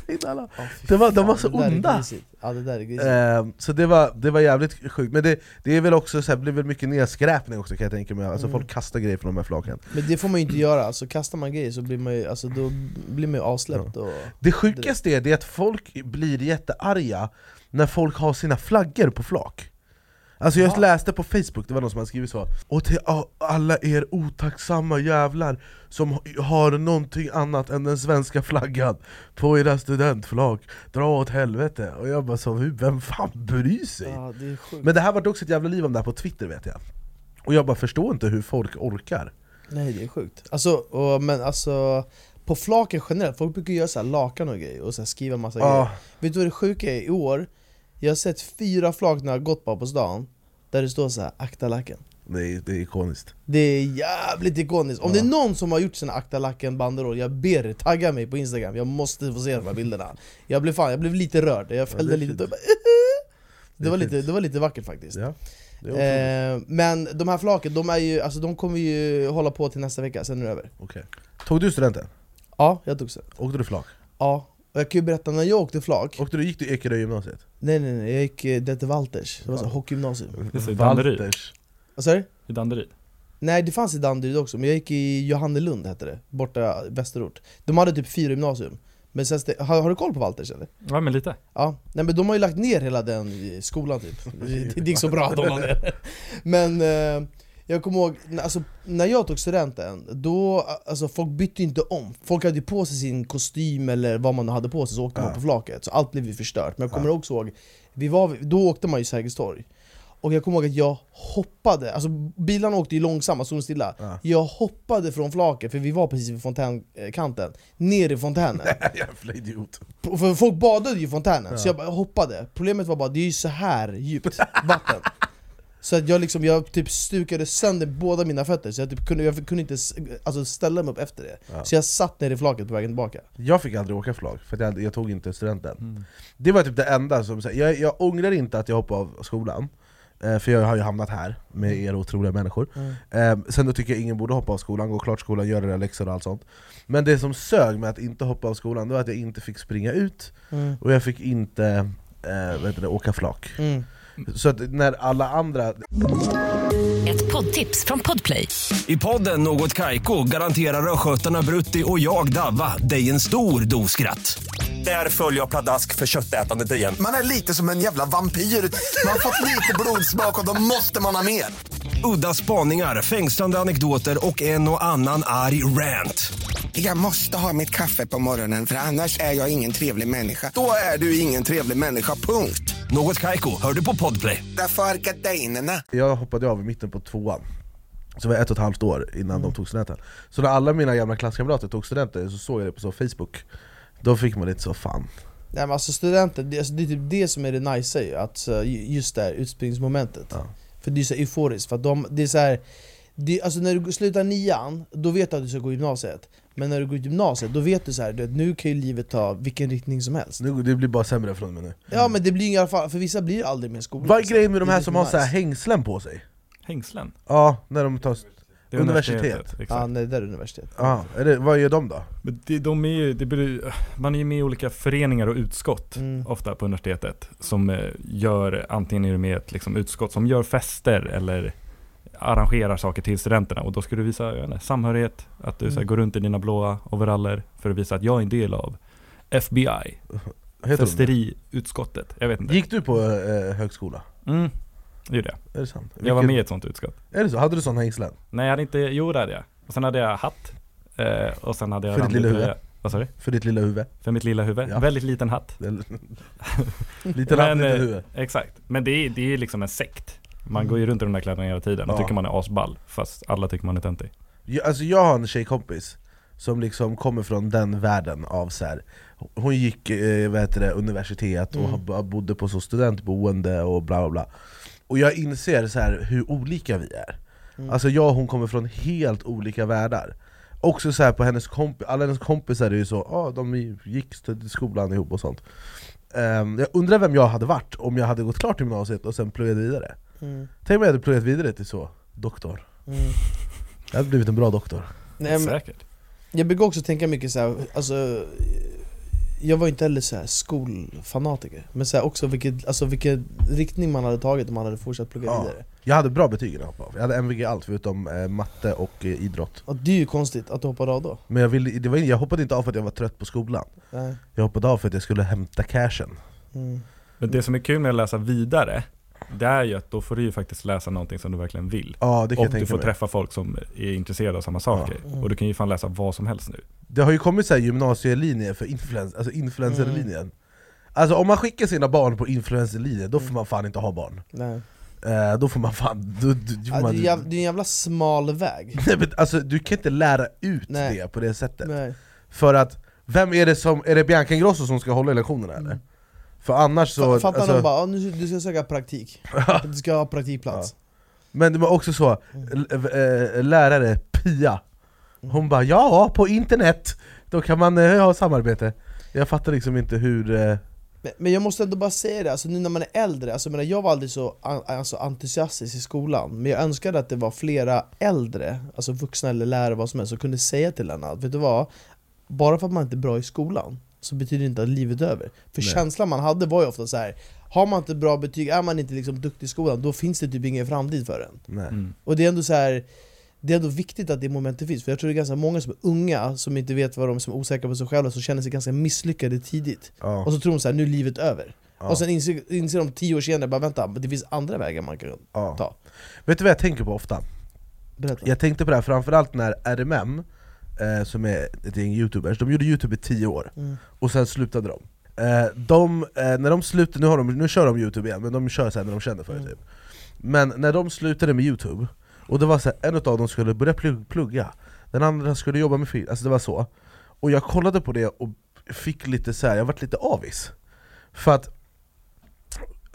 S4: svängde alla.
S2: Åh, fy
S4: Det var- de
S2: fan,
S4: var så
S2: det där är
S4: onda.
S2: grisigt. Ja det där är grisigt.
S4: Ehm, så det var, det var jävligt sjukt, men det, det är väl också så här, blir väl mycket nedskräpning också kan jag tänka mig,
S2: Mm.
S4: alltså folk kastar grejer från de här flaken
S2: Men det får man ju inte göra, alltså kastar man grejer så blir man ju, alltså, då blir man ju avsläppt och...
S4: Det sjukaste är, det är att folk blir jättearga när folk har sina flaggor på flak Alltså jag läste på Facebook, det var någon som hade skrivit så Och till a- alla er otacksamma jävlar som ha- har någonting annat än den svenska flaggan på era studentflak, dra åt helvete! Och jag bara så, "Hur- vem fan bryr sig?
S2: Ja det är sjukt.
S4: Men det här vart också ett jävla liv om det här på Twitter vet jag Och jag bara förstår inte hur folk orkar
S2: Nej det är sjukt. Alltså, och, men alltså, på flaken generellt, folk brukar göra så här lakan och grejer och så här skriva massa
S4: Ja.
S2: grejer. Vet du vad det sjuka är? I år, jag har sett fyra flak när jag har gått bara på stan, där det står så här 'akta lacken'
S4: Det är, det är ikoniskt
S2: Det är jävligt ikoniskt. Om det är någon som har gjort sina akta lacken banderoll, jag ber er tagga mig på instagram, jag måste få se de här bilderna. Jag blev fan, jag blev lite rörd, jag fällde
S4: är fint.
S2: lite tår.
S4: Det
S2: det,
S4: är
S2: var lite,
S4: fint.
S2: det var lite vackert faktiskt.
S4: ja. det är otroligt.
S2: Eh, men de här flaken, de, är ju, alltså, de kommer ju hålla på till nästa vecka, sen är det över.
S4: Okej. Tog du studenten?
S2: Ja, jag tog sen.
S4: Åkte du flak?
S2: Ja, och jag kan ju berätta när jag åkte flak.
S4: Åkte du, gick du Ekerö gymnasiet?
S2: Nej nej nej, jag gick eh, det till Walters, det var så här hockeygymnasium.
S1: Just det, Alltså, Danderyd.
S4: Walters. [LAUGHS]
S2: Vad sa du?
S1: I Danderyd.
S2: Nej det fanns i Danderyd också, men jag gick i Johannelund hette det, borta i västerort. De hade typ fyra gymnasium. Men sen, ste- har, har du koll på Walters eller?
S1: Ja men lite.
S2: Ja, nej men de har ju lagt ner hela den eh, skolan typ. Det det gick så bra att de la ner. Men eh, jag kommer ihåg, n- alltså, när jag tog studenten, då, a- alltså, folk bytte ju inte om. Folk hade ju på sig sin kostym eller vad man hade på sig, så åkte man på flaket. Så allt blev ju förstört. Men jag kommer också ihåg, vi var, då åkte man ju Sergels torg. Och jag kommer ihåg att jag hoppade, alltså bilarna åkte ju långsamma, stod stilla
S4: Ja.
S2: Jag hoppade från flaket, för vi var precis vid fontänkanten, ner i fontänen
S4: Jävla idiot.
S2: för folk badade ju i fontänen, så jag bara hoppade Problemet var bara, det är ju så här djupt vatten Så att jag liksom, jag typ stukade sönder båda mina fötter, så jag, typ kunde, jag kunde inte s- alltså ställa mig upp efter det Så jag satt ner i flaket på vägen tillbaka
S4: Jag fick aldrig åka flak, för att jag, jag tog inte studenten. Det var typ det enda som... så här, Jag, jag ångrar inte att jag hoppade av skolan, eh, för jag har ju hamnat här med er otroliga människor. Eh, Sen då tycker jag ingen borde hoppa av skolan, gå klart skolan, göra era läxor och allt sånt. Men det som sög med att inte hoppa av skolan, det var att jag inte fick springa ut, och jag fick inte eh, vad heter det, åka flak.
S2: Mm.
S4: Så att när alla andra...
S5: Ett poddtips från Podplay.
S6: I podden Något Kaiko garanterar östgötarna Brutti och jag, Davva, dig en stor dos skratt. Där följer jag pladask för köttätandet igen.
S7: Man är lite som en jävla vampyr. Man har fått lite blodsmak och då måste man ha mer.
S6: Udda spaningar, fängslande anekdoter och en och annan arg rant.
S7: Jag måste ha mitt kaffe på morgonen för annars är jag ingen trevlig människa. Då är du ingen trevlig människa, punkt.
S6: Något Kaiko, hör du på Podplay.
S7: Därför är gardinerna.
S4: Jag hoppade av i mitten på tvåan Så det var ett och ett halvt år innan
S1: Mm.
S4: de tog studenten Så när alla mina gamla klasskamrater tog studenten så såg jag det på så Facebook Då fick man lite så fan
S2: Nej men alltså studenter, det, alltså, det är typ det som är det nice ju, att så, ju- just det här utspringningsmomentet För det är så euforiskt, för att de, det är så här, det, alltså när du slutar nian, då vet du att du ska gå gymnasiet Men när du går gymnasiet, då vet du så här, du vet, nu kan ju livet ta vilken riktning som helst
S4: nu, Det blir bara sämre från mig nu
S1: Mm.
S2: Ja men det blir inga fall, för vissa blir aldrig mer skola
S4: Vad är
S2: liksom.
S4: grejen med de
S2: Det
S4: här
S2: är
S4: som
S2: lite
S4: har så här
S2: nice.
S4: hängslen på sig?
S1: Hängslen.
S4: Ja, när de tar...
S1: Det
S4: Universitet.
S2: Ja
S1: Exakt.
S2: nej det där är universitet
S4: Ja, är det, vad gör de då?
S1: Men det, de är ju, det blir, man är ju med i olika föreningar och utskott
S4: Mm.
S1: ofta på universitetet. Som eh, gör, antingen är du med i ett liksom, utskott som gör fester eller arrangerar saker till studenterna. Och då ska du visa jag vet inte, samhörighet, att du så här,
S4: Mm.
S1: går runt i dina blåa overaller för att visa att jag är en del av FBI,
S4: Heter de?
S1: festeriutskottet. Jag vet inte.
S4: Gick du på eh, högskola?
S1: Mm, det gjorde jag.
S4: Är det sant?
S1: Jag var
S4: Vilken-
S1: med i ett sånt utskott.
S4: Är det så? Hade du sån hängslen?
S1: Nej jag hade inte, jo det hade jag. Och sen hade jag hatt. Eh, och sen hade jag
S4: För ditt
S1: randig
S4: lilla huvud.
S1: tröja. Vad sa du?
S4: För ditt lilla huvud?
S1: För mitt lilla huvud.
S4: Ja.
S1: Väldigt liten hatt. [LAUGHS]
S4: Det- Liten hatt,
S1: eh,
S4: litet huvud
S1: Exakt. Men det är, det är liksom en sekt. Man går ju runt i de där kläderna hela tiden och
S4: Mm. Ja.
S1: tycker man är asball. Fast alla tycker man är töntig.
S4: Jag, alltså jag har en tjejkompis som liksom kommer från den världen av så här. Hon gick eh, vad heter det, universitet och ha- bodde på så studentboende och bla bla bla Och jag inser så här hur olika vi är Alltså jag och hon kommer från helt olika världar också så här på hennes kompis, alla hennes kompisar är ju så, ah, de gick till skolan ihop och sånt Ehm, Jag undrar vem jag hade varit om jag hade gått klart gymnasiet och sen pluggat vidare
S2: Mm.
S4: Tänk om jag hade pluggat vidare till så, doktor
S2: Mm.
S4: Jag hade blivit en bra doktor
S2: Nej, men
S1: Säkert.
S2: jag brukar också tänka mycket så här, alltså jag var inte heller så här skolfanatiker, men så här också vilket, alltså vilken riktning man hade tagit om man hade fortsatt plugga
S4: Ja.
S2: vidare
S4: Jag hade bra betyg när jag hoppade av, jag hade MVG i allt förutom eh, matte och eh, idrott
S2: och Det är ju konstigt att du hoppade av då
S4: Men jag, ville, det var, jag hoppade inte av för att jag var trött på skolan
S2: Nej.
S4: Jag hoppade av för att jag skulle hämta cashen
S2: Mm.
S1: Men det som är kul med att läsa vidare, det är ju att då får du ju faktiskt läsa någonting som du verkligen vill.
S4: Ja, det kan
S1: Och
S4: jag
S1: du
S4: tänka
S1: får
S4: mig Mm.
S1: träffa folk som är intresserade av samma saker. Och du kan ju fan läsa vad som helst nu.
S4: Det har ju kommit så här gymnasielinjer för influens- alltså influencerlinjen Alltså om man skickar sina barn på influencerlinjen, då får man fan inte ha barn
S2: Nej.
S4: eh, Då får man fan... Då, då,
S2: Ja, det, är
S4: man,
S2: en jävla, det är en jävla
S4: [LAUGHS]
S2: smal väg
S4: nej, men, alltså, du kan inte lära ut
S2: Nej.
S4: det på det sättet
S2: Nej.
S4: För att, vem är det som... Är det Bianca Ingrosso som ska hålla i lektionerna eller? För annars så...
S2: Fa- Fattar
S4: alltså-
S2: någon bara, "Ja, nu, du ska
S4: [LAUGHS]
S2: söka praktik, du ska ha praktikplats
S4: Men det var också så, l- eh, lärare Pia, hon bara ja, på internet, då kan man eh, ha samarbete Jag fattar liksom inte hur... eh,
S2: Men- Men jag måste ändå bara säga det, alltså nu när man är äldre, alltså jag menar, jag var aldrig så an- alltså, entusiastisk i skolan Men jag önskade att det var flera äldre, alltså vuxna eller lärare vad som helst, som kunde säga till en att vet du vad? Bara för att man inte är bra i skolan, så betyder det inte att livet är över För känslan man hade var ju ofta så här. har man inte bra betyg, är man inte liksom duktig i skolan, då finns det typ ingen framtid för en
S4: Nej.
S2: Och det är ändå så här. Det är ändå viktigt att det momentet finns, för jag tror det är ganska många som är unga som inte vet vad de som är osäkra på sig själva, som känner sig ganska misslyckade tidigt
S4: Ja.
S2: Och så tror de så här, nu är livet över
S4: Ja.
S2: Och sen inser, inser de tio år senare, bara vänta, men det finns andra vägar man kan
S4: Ja.
S2: ta
S4: Vet du vad jag tänker på ofta?
S2: Berätta
S4: Jag tänkte på det här framförallt när RMM, eh, som är ett gäng youtubers, de gjorde youtube i 10 år, och sen slutade de eh, de, eh, när de slutade, nu, har de, nu kör de youtube igen, men de kör sen när de känner för det typ Men när de slutade med youtube, och det var så här, en av dem skulle börja plug- plugga, den andra skulle jobba med film, alltså det var så Och jag kollade på det och fick lite så här, jag vart lite avis För att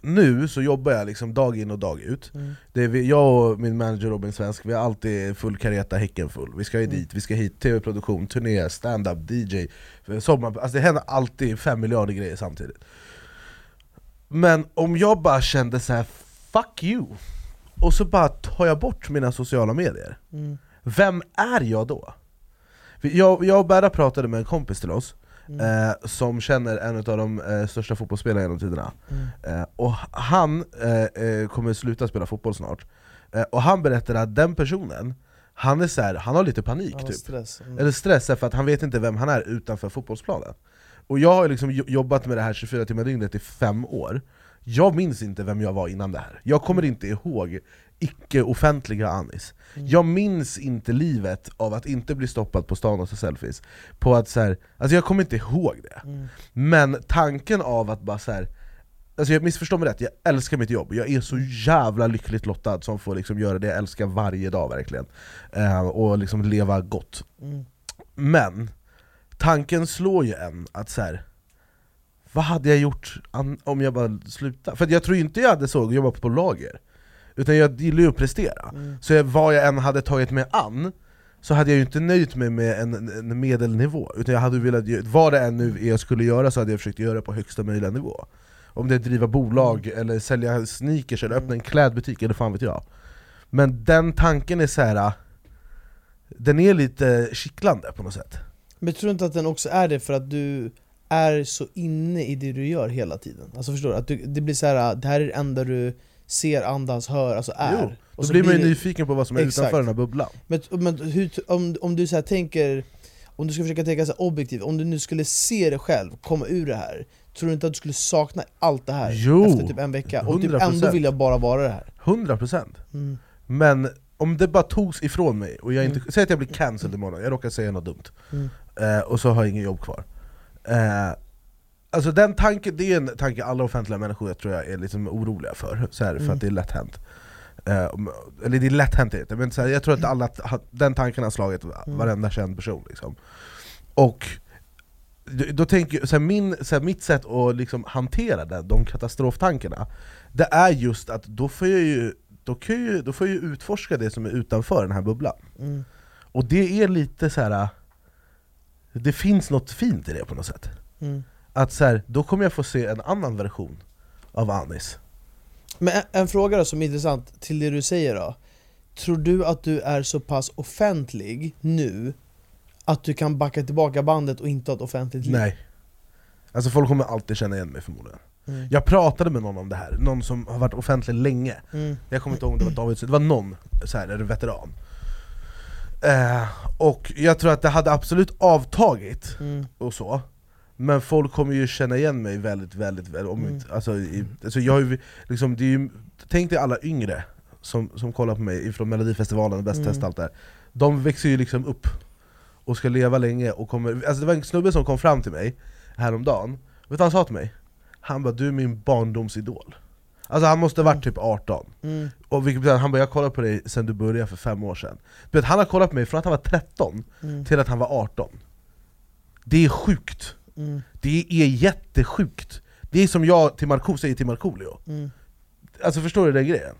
S4: nu så jobbar jag liksom dag in och dag ut det är vi, Jag och min manager Robin Svensk, vi har alltid full kareta, Häcken full Vi ska ju dit, vi ska hit, tv-produktion, turné, stand-up, DJ, sommar Alltså det händer alltid fem miljarder grejer samtidigt Men om jag bara kände så här: 'fuck you' Och så bara tar jag bort mina sociala medier
S2: Mm.
S4: Vem är jag då? Vi- Jag, jag och Berra pratade med en kompis till oss
S2: Mm.
S4: eh, Som känner en av de eh, största fotbollsspelarna genom tiderna
S2: Mm.
S4: eh, Och han eh, eh, kommer sluta spela fotboll snart eh, Och han berättade att den personen, han är så här, han har lite panik
S2: Han har
S4: typ
S2: stress mm.
S4: eller stress är för att han vet inte vem han är utanför fotbollsplanen Och jag har ju liksom jo- jobbat med det här 24 timmar dygnet i fem år Jag minns inte vem jag var innan det här Jag kommer inte ihåg icke-offentliga Anis Jag minns inte livet av att inte bli stoppad på stan och ta selfies på att så här, Alltså jag kommer inte ihåg det Men tanken av att bara så här. Alltså jag missförstår mig rätt, jag älskar mitt jobb, jag är så jävla lyckligt lottad som får liksom göra det jag älskar varje dag verkligen eh, Och liksom leva gott men tanken slår ju en att så här. vad hade jag gjort an- om jag bara slutade? För att jag tror inte jag hade så jobbat på lager, utan jag gillar ju att prestera. Så jag, vad jag än hade tagit mig an, så hade jag ju inte nöjt mig med en, en medelnivå, utan jag hade velat, ge- vad det än nu är jag skulle göra så hade jag försökt göra det på högsta möjliga nivå. Om det är att driva bolag, eller sälja sneakers, eller öppna en klädbutik, eller fan vet jag. Men den tanken är så här. den är lite kittlande på något sätt.
S2: Men tror du inte att den också är det för att du är så inne i det du gör hela tiden? Alltså förstår du? Att du, det blir så här, äh, det här är det enda du ser, andas, hör, alltså är
S4: Jo,
S2: Och
S4: då
S2: så
S4: blir man ju
S2: det-
S4: nyfiken på vad som är
S2: Exakt.
S4: utanför den här bubblan.
S2: Men, men hur, om, om du så här tänker, om du ska försöka tänka så här objektivt, om du nu skulle se dig själv komma ur det här Tror du inte att du skulle sakna allt det här
S4: Jo,
S2: efter typ en vecka? Och typ
S4: 100%.
S2: ändå vill jag bara vara det här
S4: 100% procent.
S2: Mm.
S4: Men om det bara togs ifrån mig, och jag inte, säg att jag blir cancelled imorgon, jag råkar säga något dumt,
S2: Mm.
S4: eh, och så har jag ingen jobb kvar. Eh, alltså den tanken, det är en tanke alla offentliga människor jag tror jag är liksom oroliga för, så här,
S2: Mm.
S4: för att det är lätt hänt. Eh, om- eller det är lätt hänt inte, men så här, jag tror att alla, den tanken har slagit
S2: Mm.
S4: varenda känd person. Liksom. Och då- då tänker jag, så här, min, så här, mitt sätt att liksom hantera den, de katastroftankarna, det är just att då får jag ju, då kan jag ju, då får jag ju utforska det som är utanför den här bubblan. Och det är lite så här. Det finns något fint i det på något sätt.
S2: Mm.
S4: Att så här, då kommer jag få se en annan version av Anis.
S2: Men en, en fråga då som är intressant till det du säger då. Tror du att du är så pass offentlig nu att du kan backa tillbaka bandet och inte ha ett offentligt liv?
S4: Nej. Alltså folk kommer alltid känna igen mig förmodligen.
S2: Mm.
S4: Jag pratade med någon om det här, någon som har varit offentlig länge.
S2: Mm.
S4: Jag kommer inte ihåg om det var David, det var någon så här, en veteran. Eh, och jag tror att det hade absolut avtagit
S2: Mm.
S4: och så Men folk kommer ju känna igen mig väldigt, väldigt väl om
S2: Mm.
S4: inte, alltså, i, alltså jag har ju, liksom, det är ju, Tänk dig alla yngre som, som kollar på mig ifrån melodifestivalen och Bäst
S2: Mm.
S4: test allt det här De växer ju liksom upp och ska leva länge och kommer, alltså det var en snubbe som kom fram till mig häromdagen, vet du vad han sa till mig? Han bara 'du är min barndomsidol' Alltså han måste ha varit typ 18
S2: Mm.
S4: och vilket betyder att han bara 'jag har kollat på dig sen du började för fem år sedan' Du vet, Han har kollat på mig från att han var 13
S2: Mm.
S4: till att han var 18 Det är sjukt,
S2: Mm.
S4: det är jättesjukt Det är som jag till Marco säger till Markoolio
S2: Mm.
S4: Alltså förstår du den grejen?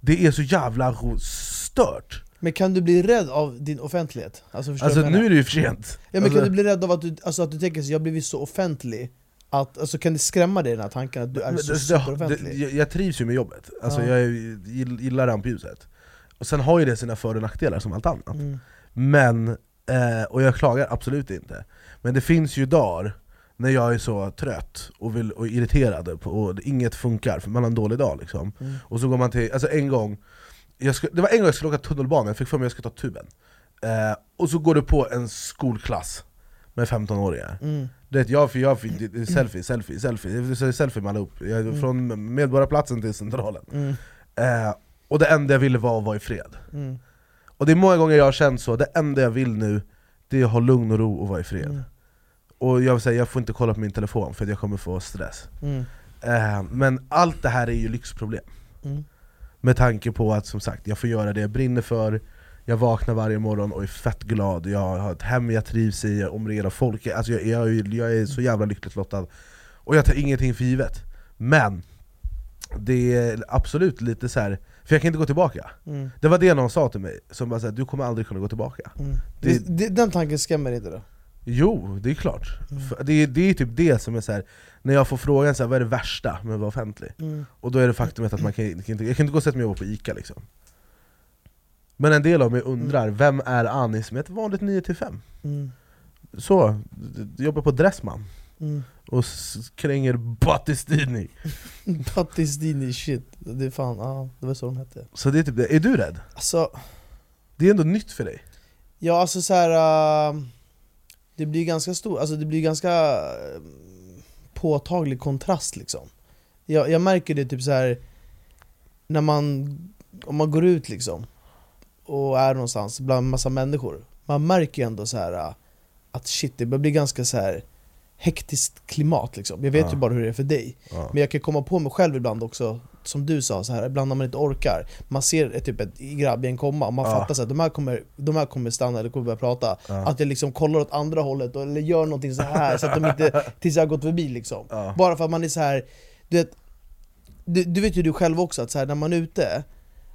S4: Det är så jävla ro- stört!
S2: Men kan du bli rädd av din offentlighet? Alltså, förstår
S4: Alltså
S2: du vad jag menar?
S4: nu är det ju för sent
S2: Ja, men
S4: alltså,
S2: Kan du bli rädd av att du, alltså, att du tänker så jag har blivit så offentlig? Att, alltså, kan det skrämma dig den här tanken att du är
S4: men
S2: så
S4: det-
S2: Alltså, superoffentlig?
S4: det- jag, jag trivs ju med jobbet, alltså,
S2: Ja.
S4: jag är- gillar rampljuset Och sen har ju det sina för och nackdelar som allt annat
S2: Mm.
S4: Men, eh, och jag klagar absolut inte Men det finns ju dagar när jag är så trött och, vill, och irriterad på, och inget funkar för man har en dålig dag liksom
S2: Mm.
S4: Och så går man till, alltså en gång jag sku, Det var en gång jag skulle åka tunnelbana, jag fick för mig att jag skulle ta tuben eh, Och så går du på en skolklass med 15-åringar
S2: Mm.
S4: du vet, jag för jag fick det- det- selfie, selfie, selfie, det- det- selfie med alla upp. Jag, Från Medborgarplatsen till Centralen.
S2: Mm.
S4: Eh, och det enda jag ville var att vara i fred.
S2: Mm.
S4: Och det är många gånger jag har känt så, det enda jag vill nu det är att ha lugn och ro och vara i fred.
S2: Mm.
S4: Och jag vill säga, jag får inte kolla på min telefon för att jag kommer få stress.
S2: Mm.
S4: Eh, men allt det här är ju lyxproblem.
S2: Mm.
S4: Med tanke på att som sagt, jag får göra det jag brinner för, jag vaknar varje morgon och är fett glad, jag har ett hem jag trivs i, jag är omringad av folk, alltså jag, jag, är ju- jag är så jävla lyckligt lottad. Och jag tar ingenting för givet. Men, det är absolut lite så här. för jag kan inte gå tillbaka.
S2: Mm.
S4: Det var det någon sa till mig, som bara så här, du kommer aldrig kunna gå tillbaka.
S2: Mm.
S4: Det-
S2: Det, det, den tanken skrämmer inte då?
S4: Jo, det är klart.
S2: Mm.
S4: För Det, är, det är typ det som är så här. när jag får frågan så här, vad är det värsta med att vara offentlig?
S2: Mm.
S4: Och då är det faktumet att man kan, kan inte, jag kan inte gå och sätta mig och jobba på ICA liksom Men en del av mig undrar, vem är Anis med ett vanligt 9-5?
S2: Mm. [LAUGHS]
S4: Så, d- d- jobbar på Dressman
S2: Mm.
S4: och s- kränger Battistini
S2: Pattis Dini, shit. Det är fan, ja, det var så de hette.
S4: Så det är typ det, är du rädd?
S2: Alltså,
S4: Det är ändå nytt för dig
S2: ja alltså så här. äh, det blir ganska stor, alltså det blir ganska äh, påtaglig kontrast liksom. Jag, jag märker det typ så här när man, om man går ut liksom och är någonstans bland massa människor. Man märker ju ändå så här äh, att shit, det börjar bli ganska så här hektiskt klimat liksom. Jag vet
S4: Ja.
S2: ju bara hur det är för dig.
S4: ja.
S2: Men jag kan komma på mig själv ibland också, som du sa, så här, ibland när man inte orkar. Man ser ett, typ ett grabbgäng komma och man
S4: Ja.
S2: fattar att de här, kommer, de här kommer stanna eller kommer börja prata.
S4: Ja.
S2: Att jag liksom kollar åt andra hållet och- eller gör någonting så här så att de inte, tills jag har gått förbi liksom.
S4: Ja.
S2: Bara för att man är så här, du vet, du, du vet ju du själv också att så här, när man är ute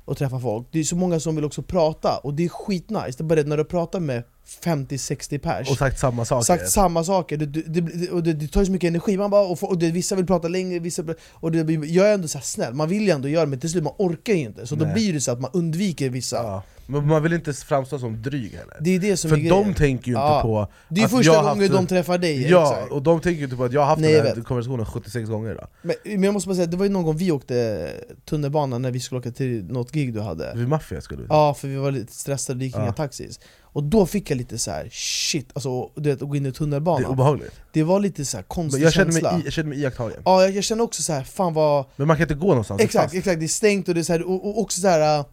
S2: och träffar folk, det är så många som vill också prata och det är skitnice. Det är bara det att när du pratar med 50-60 pers
S4: Och sagt samma saker
S2: Sagt samma saker, det, det, det, och det, det tar ju så mycket energi, man bara, och, fo- och det, vissa vill prata längre, vissa vill- och det, blir- jag är ändå så här snäll, man vill ju ändå göra det men till slut man orkar ju inte, så
S4: Nej.
S2: då blir det så att man undviker vissa
S4: ja. Men man vill inte framstå som dryg heller
S2: Det är det som
S4: För
S2: är
S4: de
S2: grejen
S4: tänker ju inte
S2: Ja.
S4: på
S2: Det är ju
S4: att
S2: första
S4: jag har
S2: gången de
S4: haft-
S2: träffar dig,
S4: Ja,
S2: exakt.
S4: och de tänker ju inte på att jag har haft
S2: Nej,
S4: den
S2: jag
S4: här
S2: vet.
S4: konversationen 76 gånger idag
S2: men, men jag måste bara säga, det var ju någon gång vi åkte tunnelbana när vi skulle åka till något gig du hade
S4: Vid maffia skulle vi
S2: Ja, för vi var lite stressade, det gick
S4: Ja.
S2: inga taxis Och då fick jag lite så här: shit, alltså du vet att gå in
S4: Det
S2: i
S4: är
S2: tunnelbanan Det,
S4: obehagligt
S2: var lite så här
S4: Men
S2: konstig
S4: jag känner mig,
S2: känsla
S4: i, jag känner mig iakttagen
S2: Ja, jag, jag känner också så här, fan vad
S4: Men man kan inte gå någonstans, det är
S2: Exakt,
S4: fast.
S2: exakt, det är stängt och det är så här, och, och också så här. äh,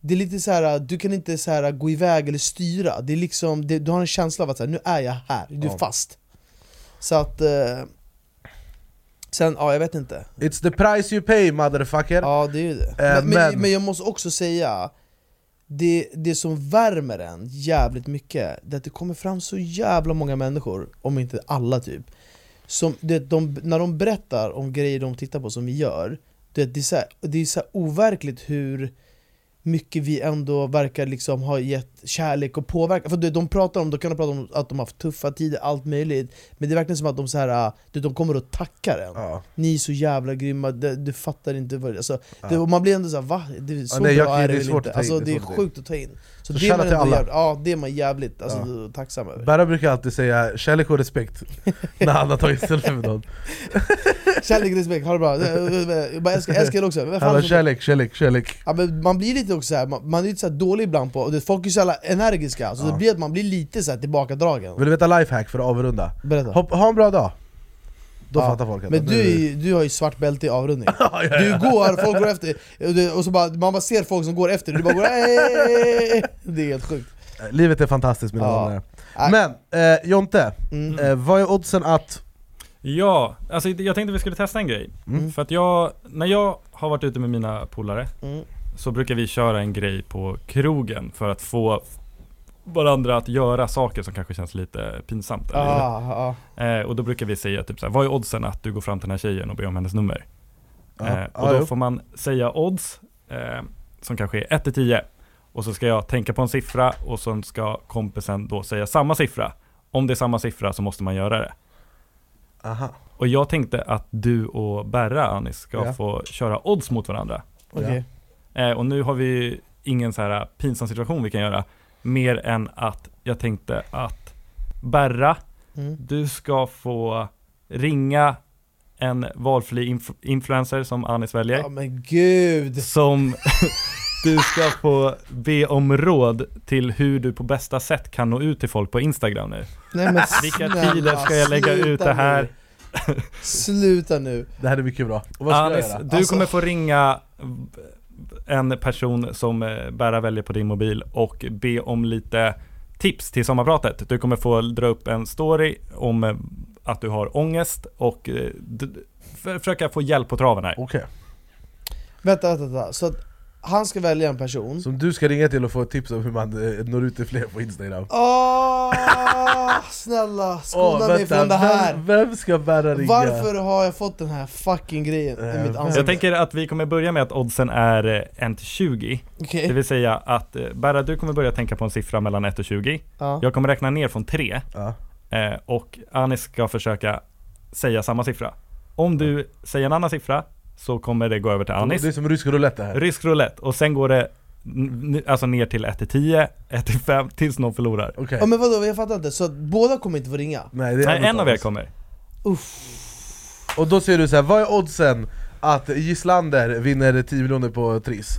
S2: Det är lite så här, äh, du kan inte så här, äh, gå iväg eller styra, det är liksom, det, du har en känsla av att så här, nu är jag här, du
S4: Ja.
S2: är fast Så att... eh, Sen, ja jag vet inte,
S4: It's the price you pay motherfucker!
S2: ja det är ju det
S4: Eh,
S2: men,
S4: men-
S2: men, men jag måste också säga, det, det som värmer en jävligt mycket, det är att det kommer fram så jävla många människor, om inte alla typ som, det, de, När de berättar om grejer de tittar på som vi gör, det, det är så här, det är så här overkligt hur mycket vi ändå verkar liksom ha gett kärlek och påverkan. För du, vet, de pratar om, de kan prata om att de har haft tuffa tider, allt möjligt. Men det är verkligen som att de, så här, du, vet, de kommer och tackar en.
S4: Ja.
S2: Ni är så jävla grymma, du, du fattar inte vad alltså, det Och man blir ändå såhär va? Det är så
S4: Ja, nej,
S2: bra
S4: jag-
S2: är
S4: det
S2: det
S4: är
S2: väl
S4: svårt
S2: inte?
S4: att ta in,
S2: Alltså,
S4: det är
S2: det är
S4: svårt.
S2: sjukt att ta in. Så,
S4: Så
S2: det, är
S4: shoutout
S2: man
S4: till
S2: ändå
S4: alla.
S2: jävla- ja, det är man jävligt alltså, tacksam över.
S4: Berra brukar alltid säga kärlek och respekt när han har tagit ställning för
S2: [LAUGHS]
S4: någon.
S2: Kärlek, respekt, ha det bra. Jag bara älskar, älskar er också. Vem fan
S4: Han bara
S2: som-
S4: kärlek, kärlek, kärlek.
S2: Ja, men man blir lite också så här, man, man är lite så här dålig ibland på, och det, folk är så jävla energiska, så det blir att man blir lite så här tillbakadragen
S4: Vill du veta lifehack för att avrunda?
S2: Berätta
S4: Hopp, ha en bra dag! Då
S2: Ja,
S4: fattar folk att
S2: Men
S4: nu-
S2: du, är ju- du har ju svart bälte
S4: [LAUGHS]
S2: i avrundning Du går, folk går efter, och det- och så bara, man bara ser folk som går efter dig, du bara går "Ey!" Det är helt sjukt
S4: Eh, Livet är fantastiskt mina
S2: Ja.
S4: damer
S2: Nej. Mm.
S4: Men eh, Jonte, eh, vad är oddsen att...
S1: Ja, alltså jag tänkte vi skulle testa en grej.
S4: Mm.
S1: För att jag, när jag har varit ute med mina polare
S2: Mm.
S1: så brukar vi köra en grej på krogen för att få varandra att göra saker som kanske känns lite pinsamt. eller lite-
S2: ah, ah.
S1: Eh, och då brukar vi säga typ så här, vad är oddsen att du går fram till den här tjejen och ber om hennes nummer? eh, och
S4: ja,
S1: då
S4: jo.
S1: får man säga odds, eh, som kanske är 1 till 10. Och så ska jag tänka på en siffra och sen ska kompisen då säga samma siffra. Om det är samma siffra så måste man göra det.
S4: Aha.
S1: Och jag tänkte att du och Berra, Anis, ska
S4: Ja.
S1: få köra odds mot varandra.
S2: Okej.
S1: Eh, och nu har vi ingen så här eh, pinsam situation vi kan göra. Mer än att jag tänkte att Berra,
S2: Mm.
S1: du ska få ringa en valfri inf- influencer som Anis väljer.
S2: Ja men gud!
S1: Som [LAUGHS] du ska få be om råd till hur du på bästa sätt kan nå ut till folk på Instagram nu.
S2: Nej, men
S1: [LAUGHS] Vilka
S2: snälla,
S1: tider ska jag lägga
S2: sluta
S1: ut det här?
S2: nu. Sluta nu!
S4: Det här är mycket bra. Och vad ska jag
S1: Anis,
S4: göra? Alltså-
S1: du kommer få ringa en person som eh, Berra väljer på din mobil och be om lite tips till sommarpratet. Du kommer få dra upp en story om eh, att du har ångest och eh, d- för- försöka få hjälp på traven här.
S4: Okej,
S2: Vänta, vänta, vänta. Så att han ska välja en person
S4: som du ska ringa till och få ett tips om hur man eh, når ut till fler på Instagram.
S2: Åh, snälla skona
S4: Åh,
S2: mig från det här!
S4: Vem, vem ska bära ringa?
S2: Varför har jag fått den här fucking grejen
S4: Eh,
S2: i mitt
S4: jag
S1: Jag
S2: ansikte?
S1: tänker att vi kommer börja med att oddsen är 1 till 20.
S2: Okej,
S1: Det vill säga att eh, Berra, du kommer börja tänka på en siffra mellan 1 och 20.
S2: ja.
S1: Jag kommer räkna ner från 3
S4: Ja.
S1: eh, och Anis ska försöka säga samma siffra. Om du säger en annan siffra så kommer det gå över till
S4: Det är
S1: Anis.
S4: som rysk roulette det här.
S1: Rysk roulette och sen går det n- n- alltså ner till 1 till 10, 1 till 5 tills någon förlorar.
S4: Okej.
S2: ja men vadå, jag fattar inte, så att båda kommer inte få ringa?
S4: Nej, det är
S1: Nej, en av er
S4: oss.
S1: kommer.
S4: Och då säger du så här, vad är oddsen att Gislander vinner 10 miljoner på Triss?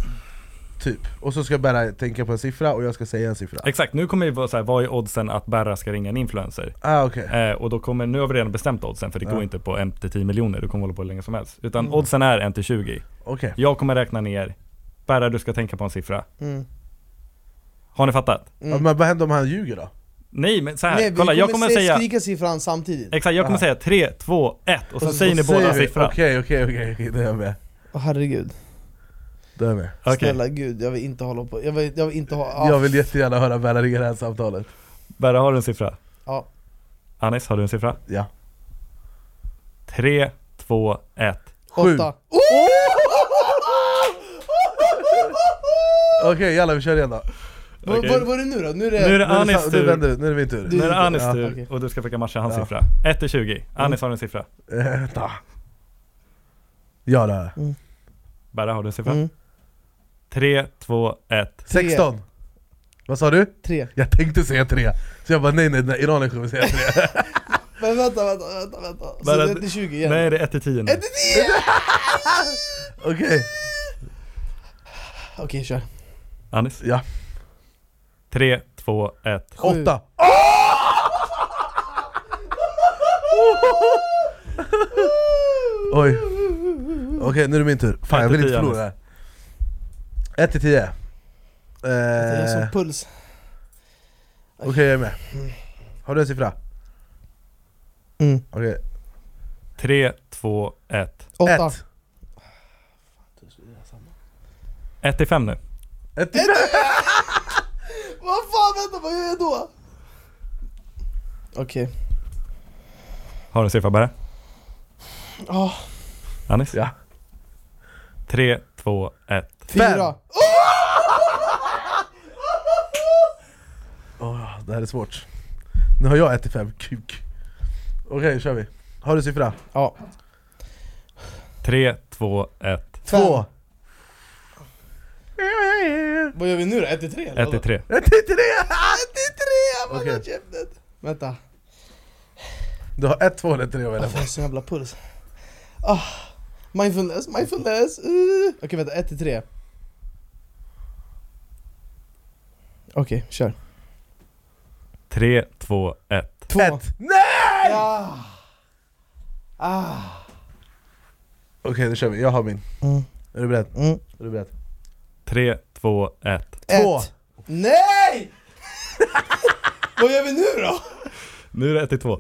S4: Typ. Och så ska Berra tänka på en siffra och jag ska säga en siffra.
S1: Exakt, nu kommer vi vara såhär, vad är oddsen att Berra ska ringa en influencer?
S4: Ah, okej.
S1: Eh, och då kommer, nu har vi redan bestämt oddsen för det går inte på 1 till 10 miljoner, du kommer hålla på hur länge som helst. Utan
S4: Mm.
S1: oddsen är 1 till 20.
S4: Okej.
S1: Jag kommer räkna ner. Berra, du ska tänka på en siffra.
S2: Mm.
S1: Har ni fattat?
S4: Ja, men vad händer om han ljuger då?
S1: Nej men så här,
S2: Nej, vi
S1: kolla jag kommer
S2: se-
S1: säga
S2: skrika siffran samtidigt
S1: Exakt, jag kommer
S4: Ah.
S1: säga 3, 2, 1 och sen
S2: så-
S1: säger ni
S4: Då
S1: båda
S4: säger vi-
S1: siffran.
S4: Okej, okej, okej, okej, det är jag med.
S2: Åh herregud,
S4: Det är jag med.
S1: Okej,
S2: snälla gud jag vill inte hålla på, jag vill, jag vill inte ha... ah,
S4: Jag vill jättegärna höra Berra ringa det här samtalet.
S1: Berra har du en siffra?
S2: Ja.
S1: Anis, har du en siffra?
S4: Ja.
S1: 3, 2, 1.
S4: Sju.
S2: Åtta.
S4: Okej, jalla vi kör igen då.
S2: Vad
S1: Okej.
S2: vad- vad är det nu då? Nu är
S1: Nu är det
S2: det...
S4: Nu är, det,
S1: Anis
S4: sa- nu,
S1: tur.
S4: vänder, nu är det min tur.
S1: Nu är det
S2: Ja,
S1: Anis
S2: okej. Mm.
S1: tur och du ska försöka matcha hans
S4: Ja.
S1: siffra. 1 till 20. Anis har du en siffra?
S4: Eh, ta. Ja det har jag.
S1: Berra har du en siffra?
S2: Mm.
S1: 3, 2, 1.
S4: 16. Vad sa du?
S2: Tre.
S4: Jag tänkte säga tre, så jag bara nej nej, nej Iranien kommer säga tre.
S2: Men vänta, vänta, vänta, vänta. Så
S1: Bara-
S2: det är till 20 igen.
S1: Nej det är 1 till 10 nu.
S4: Okej,
S2: Okej, kör.
S1: Anis?
S4: ja.
S1: 3, 2, 1.
S4: Åtta. Oj. Okej, nu är det min tur. Fan jag vill inte förlora det här. 1 till Eh, 10. Eh,
S2: Det är
S4: Okej
S2: en sån puls.
S4: jag är med. Har du en siffra?
S2: Mm.
S4: Okej,
S1: 3, 2, 1.
S2: Åtta.
S4: 1.
S1: 1 till 5 nu.
S4: 1 till
S2: Vad fan, vänta, vad gör jag då? Okej.
S1: Har du en siffra Berra?
S2: Ah,
S1: Anis?
S4: Ja.
S1: 3, 2, 1.
S2: fyra.
S4: det här är svårt. Nu har jag ätit fem kuk. Okej, kör vi. Har du siffra?
S2: Ja.
S1: 3, 2, 1.
S2: Fem.
S4: Två.
S2: Vad gör vi nu då? 1 till 3?
S1: 1 till 3.
S4: Ett, tre, tre.
S2: 1
S4: Okej.
S2: till 3! Vänta.
S4: Du har ett, två eller tre att välja
S2: Jag
S4: på.
S2: får sån jävla puls. Ah, mindfulness, mindfulness. Uh. Okej vänta, 1 till 3. Okej, kör.
S1: 3, 2, 1.
S2: Två.
S4: Ett. Nej!
S2: Ja. Ah.
S4: Okej, då kör vi. Jag har min.
S2: Mm.
S4: Är du beredd?
S2: Mm.
S4: Är du beredd?
S1: 3, 2, 1.
S4: Två.
S2: Ett. Nej! [LAUGHS] Vad gör vi nu då?
S1: Nu är det 1 till 2.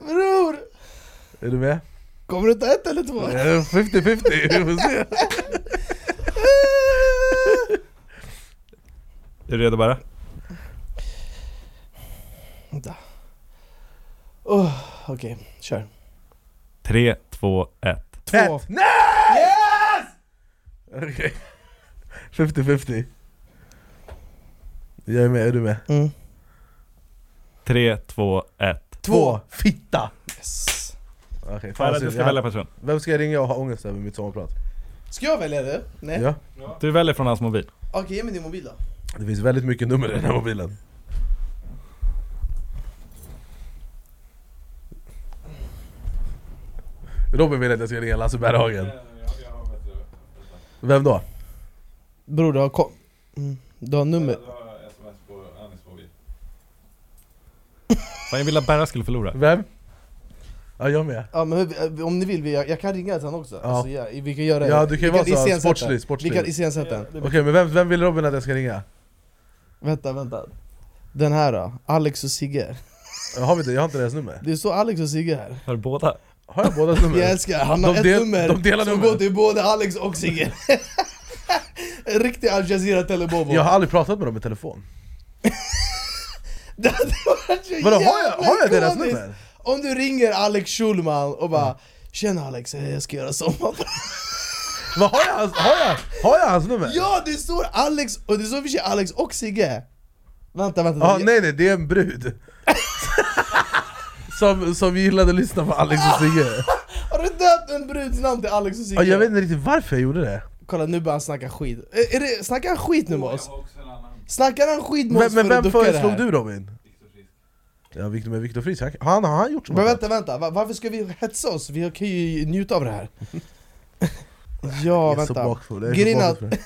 S2: Bror!
S4: Är du med?
S2: Kommer du ta ett eller två?
S4: Eh, 50-50, vi får se.
S1: Är du redo bara?
S2: Vänta. Oh, [LAUGHS] Okej, kör.
S1: 3, 2, 1.
S2: Två.
S4: Ett. Nej! Yes! Okej. 50-50. Jag är med, är du med?
S2: Mm.
S1: 3, 2, 1.
S4: Två. Fitta!
S2: Yes.
S4: Okej, fan,
S1: Farah, du
S4: synd.
S1: ska
S4: Jag-
S1: välja person.
S4: Vem ska jag ringa och ha ångest över mitt sommarprat?
S2: Ska jag välja det? Nej?
S4: Ja.
S1: Du väljer från hans mobil.
S2: Okej, ge mig din mobil då.
S4: Det finns väldigt mycket nummer i den här mobilen. Robin vill att jag ska ringa Lasse Berghagen. Vem då?
S2: Bror du har kom... Mm. Du har nummer...
S1: Fan, jag ville att Berra skulle förlora.
S4: Vem? Ja, jag med.
S2: Ja men hur, om ni vill, vi- jag, jag kan ringa till honom också.
S4: Ja.
S2: Alltså, ja, vi kan göra
S4: Ja, du kan ju
S2: vi
S4: vara så här,
S2: iscensätta.
S4: sportslig, sportslig.
S2: Vi kan iscensätta den.
S4: Okej, men vem, vem vill Robin att jag ska ringa?
S2: Vänta, vänta. Den här då, Alex och Sigge.
S4: Jag har, vi det? jag har inte deras nummer.
S2: Det står Alex och Sigge här.
S1: Har du båda?
S4: Har jag
S2: [LAUGHS]
S4: bådas nummer?
S2: Jag älskar, han har
S4: De
S2: ett
S4: del-
S2: nummer
S4: de delar
S2: som
S4: nummer.
S2: går till både Alex och Sigge. [LAUGHS] en riktig Al Jazeera Telebobo.
S4: Jag har aldrig pratat med dem i telefon.
S2: [LAUGHS] Det hade varit så
S4: Vadå, har jag,
S2: jävla
S4: har jag deras
S2: ikoniskt.
S4: nummer?
S2: Om du ringer Alex Schulman och bara Tjena Alex, eh, jag ska göra sommar
S4: Vad, har, jag, hans- har, jag, har jag hans nummer?
S2: [LAUGHS] Ja det står Alex, och det står i och för sig Alex och Sigge Vänta vänta,
S4: Ja,
S2: jag-
S4: nej nej, det är en
S2: [LAUGHS]
S4: brud. som, som gillade att lyssna på Alex och Sigge.
S2: har du döpt en bruds namn till Alex och
S4: Ja,
S2: Sigge?
S4: jag vet inte riktigt varför jag gjorde det.
S2: Kolla nu börjar han snacka skit, är, är det, snackar han skit nu med oss? Snackar han skit med
S4: Men,
S2: oss
S4: men
S2: för
S4: vem
S2: att ducka det
S4: föreslog
S2: här?
S4: du Robin? Ja, Victor, men Viktor Frisk, han, han, har han gjort så
S2: Men
S4: mycket?
S2: vänta vänta, va- varför ska vi hetsa oss? Vi kan ju njuta av det här [LAUGHS] Ja
S4: Jag är så
S2: vänta,
S4: bakfull, jag är så
S2: Grejen är att-
S4: bakfull.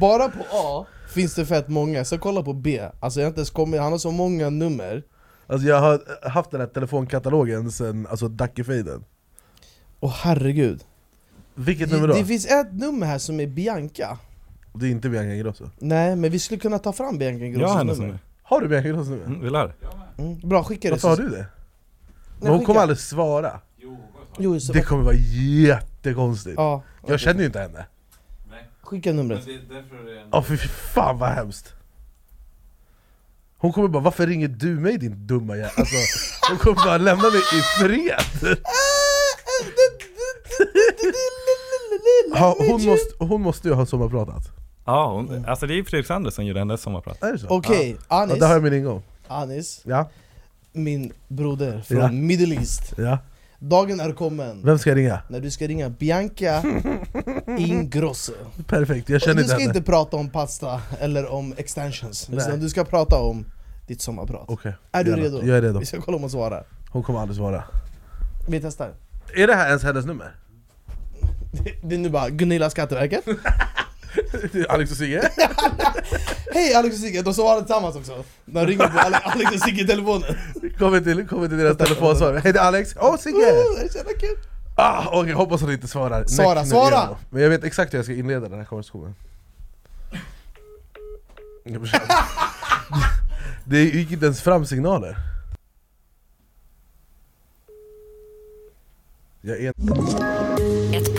S2: bara på A finns det fett många, så kolla på B Alltså jag har inte ens kommit, han har så många nummer
S4: Alltså jag har haft den här telefonkatalogen sen alltså Dackefejden.
S2: Åh herregud
S4: Vilket
S2: Det,
S4: nummer då?
S2: det finns ett nummer här som är Bianca
S4: Det är inte Bianca Ingrosso.
S2: Nej men vi skulle kunna ta fram Bianca
S1: Jag har
S2: Ingrossos
S1: hennes
S2: nummer
S1: nu.
S4: Har du Bianca Ingrosso nummer?
S1: Mm, vill du ha det?
S2: mm. Bra, skicka det
S4: Varför har du det? Men hon
S2: skicka.
S4: kommer aldrig svara.
S2: Jo, så,
S4: Det kommer vara jättekonstigt.
S2: ja,
S4: Jag känner ju inte henne.
S2: skicka [LAUGHS] numret
S4: Ja för fy fan vad hemskt. Hon kommer bara 'Varför ringer du mig din dumma jävel?' Alltså, hon kommer bara 'Lämna mig i fred'
S2: [LAUGHS]
S4: ha, hon, måste, hon måste ju ha sommarpratat.
S1: Ja, hon, alltså det är Fredrik Sanders som gjorde hennes sommarprat.
S4: Är det så?
S2: Okej,
S4: Ja, där har jag
S2: Anis,
S4: min ingång.
S2: Anis,
S4: Ja,
S2: min broder från
S4: Ja.
S2: Middle East
S4: ja.
S2: Dagen är kommen
S4: Vem ska jag ringa?
S2: när du ska ringa
S4: [LAUGHS]
S2: Bianca Ingrosso
S4: Perfekt, jag känner
S2: Du
S4: inte
S2: ska
S4: henne.
S2: inte prata om pasta eller om extensions, utan du ska prata om ditt sommarprat
S4: Okej.
S2: Är du
S4: gärna.
S2: redo?
S4: Jag är redo.
S2: Vi ska kolla om hon svarar
S4: Hon kommer aldrig svara.
S2: Vi testar
S4: Är det här ens hennes nummer? [LAUGHS]
S2: Det är nu bara Gunilla Skatteverket
S4: Alex och Sigge?
S2: Hej Alex och Sigge, de svarar tillsammans också De ringer på Ale- Alex och Sigge i telefonen
S4: Kommer till, kommer till deras telefonsvar. Hej det är Alex. Åh Sigge!
S2: Oh, det är så jävla kul!
S4: Ah, okej, hoppas hon inte svarar. Näck
S2: Svara,
S4: nu
S2: svara!
S4: igen då. Men jag vet exakt hur jag ska inleda den här konversationen. Jag försöker. [LAUGHS] Det gick inte ens fram signaler. Jag är...
S5: Ett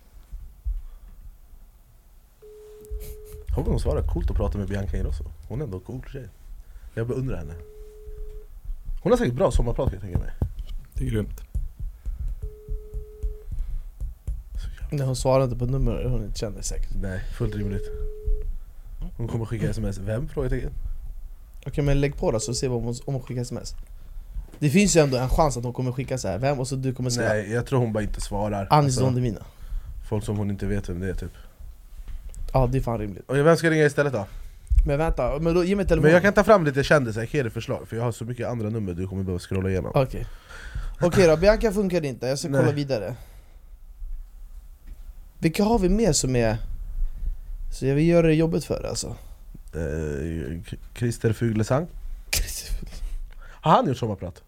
S4: Hoppas hon svarar. Coolt att prata med Bianca Ingrosso. Hon är ändå en cool tjej. Jag beundrar henne. Hon har säkert bra sommarprat kan jag tänka mig.
S1: Det är grymt.
S2: Nej, hon svarar inte på nummer hon inte känner säkert.
S4: Nej, fullt rimligt. Hon kommer skicka sms. Vem? Frågetecken.
S2: Okej men lägg på då så ser vi om hon, om hon skickar sms. Det finns ju ändå en chans att hon kommer skicka så här. vem? Och så du kommer skriva
S4: Nej, jag tror hon bara inte svarar.
S2: Anis Don
S4: Alltså,
S2: Demina.
S4: folk som hon inte vet vem det är typ.
S2: Ja det är fan rimligt.
S4: Och vem ska jag ringa istället då?
S2: Men vänta, men då, ge mig
S4: Men
S2: telefonen.
S4: jag kan ta fram lite kändisar, ge dig förslag. För jag har så mycket andra nummer du kommer behöva scrolla igenom.
S2: Okej. Okej då, Bianca funkar inte, jag ska
S4: Nej.
S2: kolla vidare. Vilka har vi mer som är... Så jag vill göra det jobbigt för dig alltså.
S4: Eh, K- Christer Fuglesang. Har han gjort sommarprat?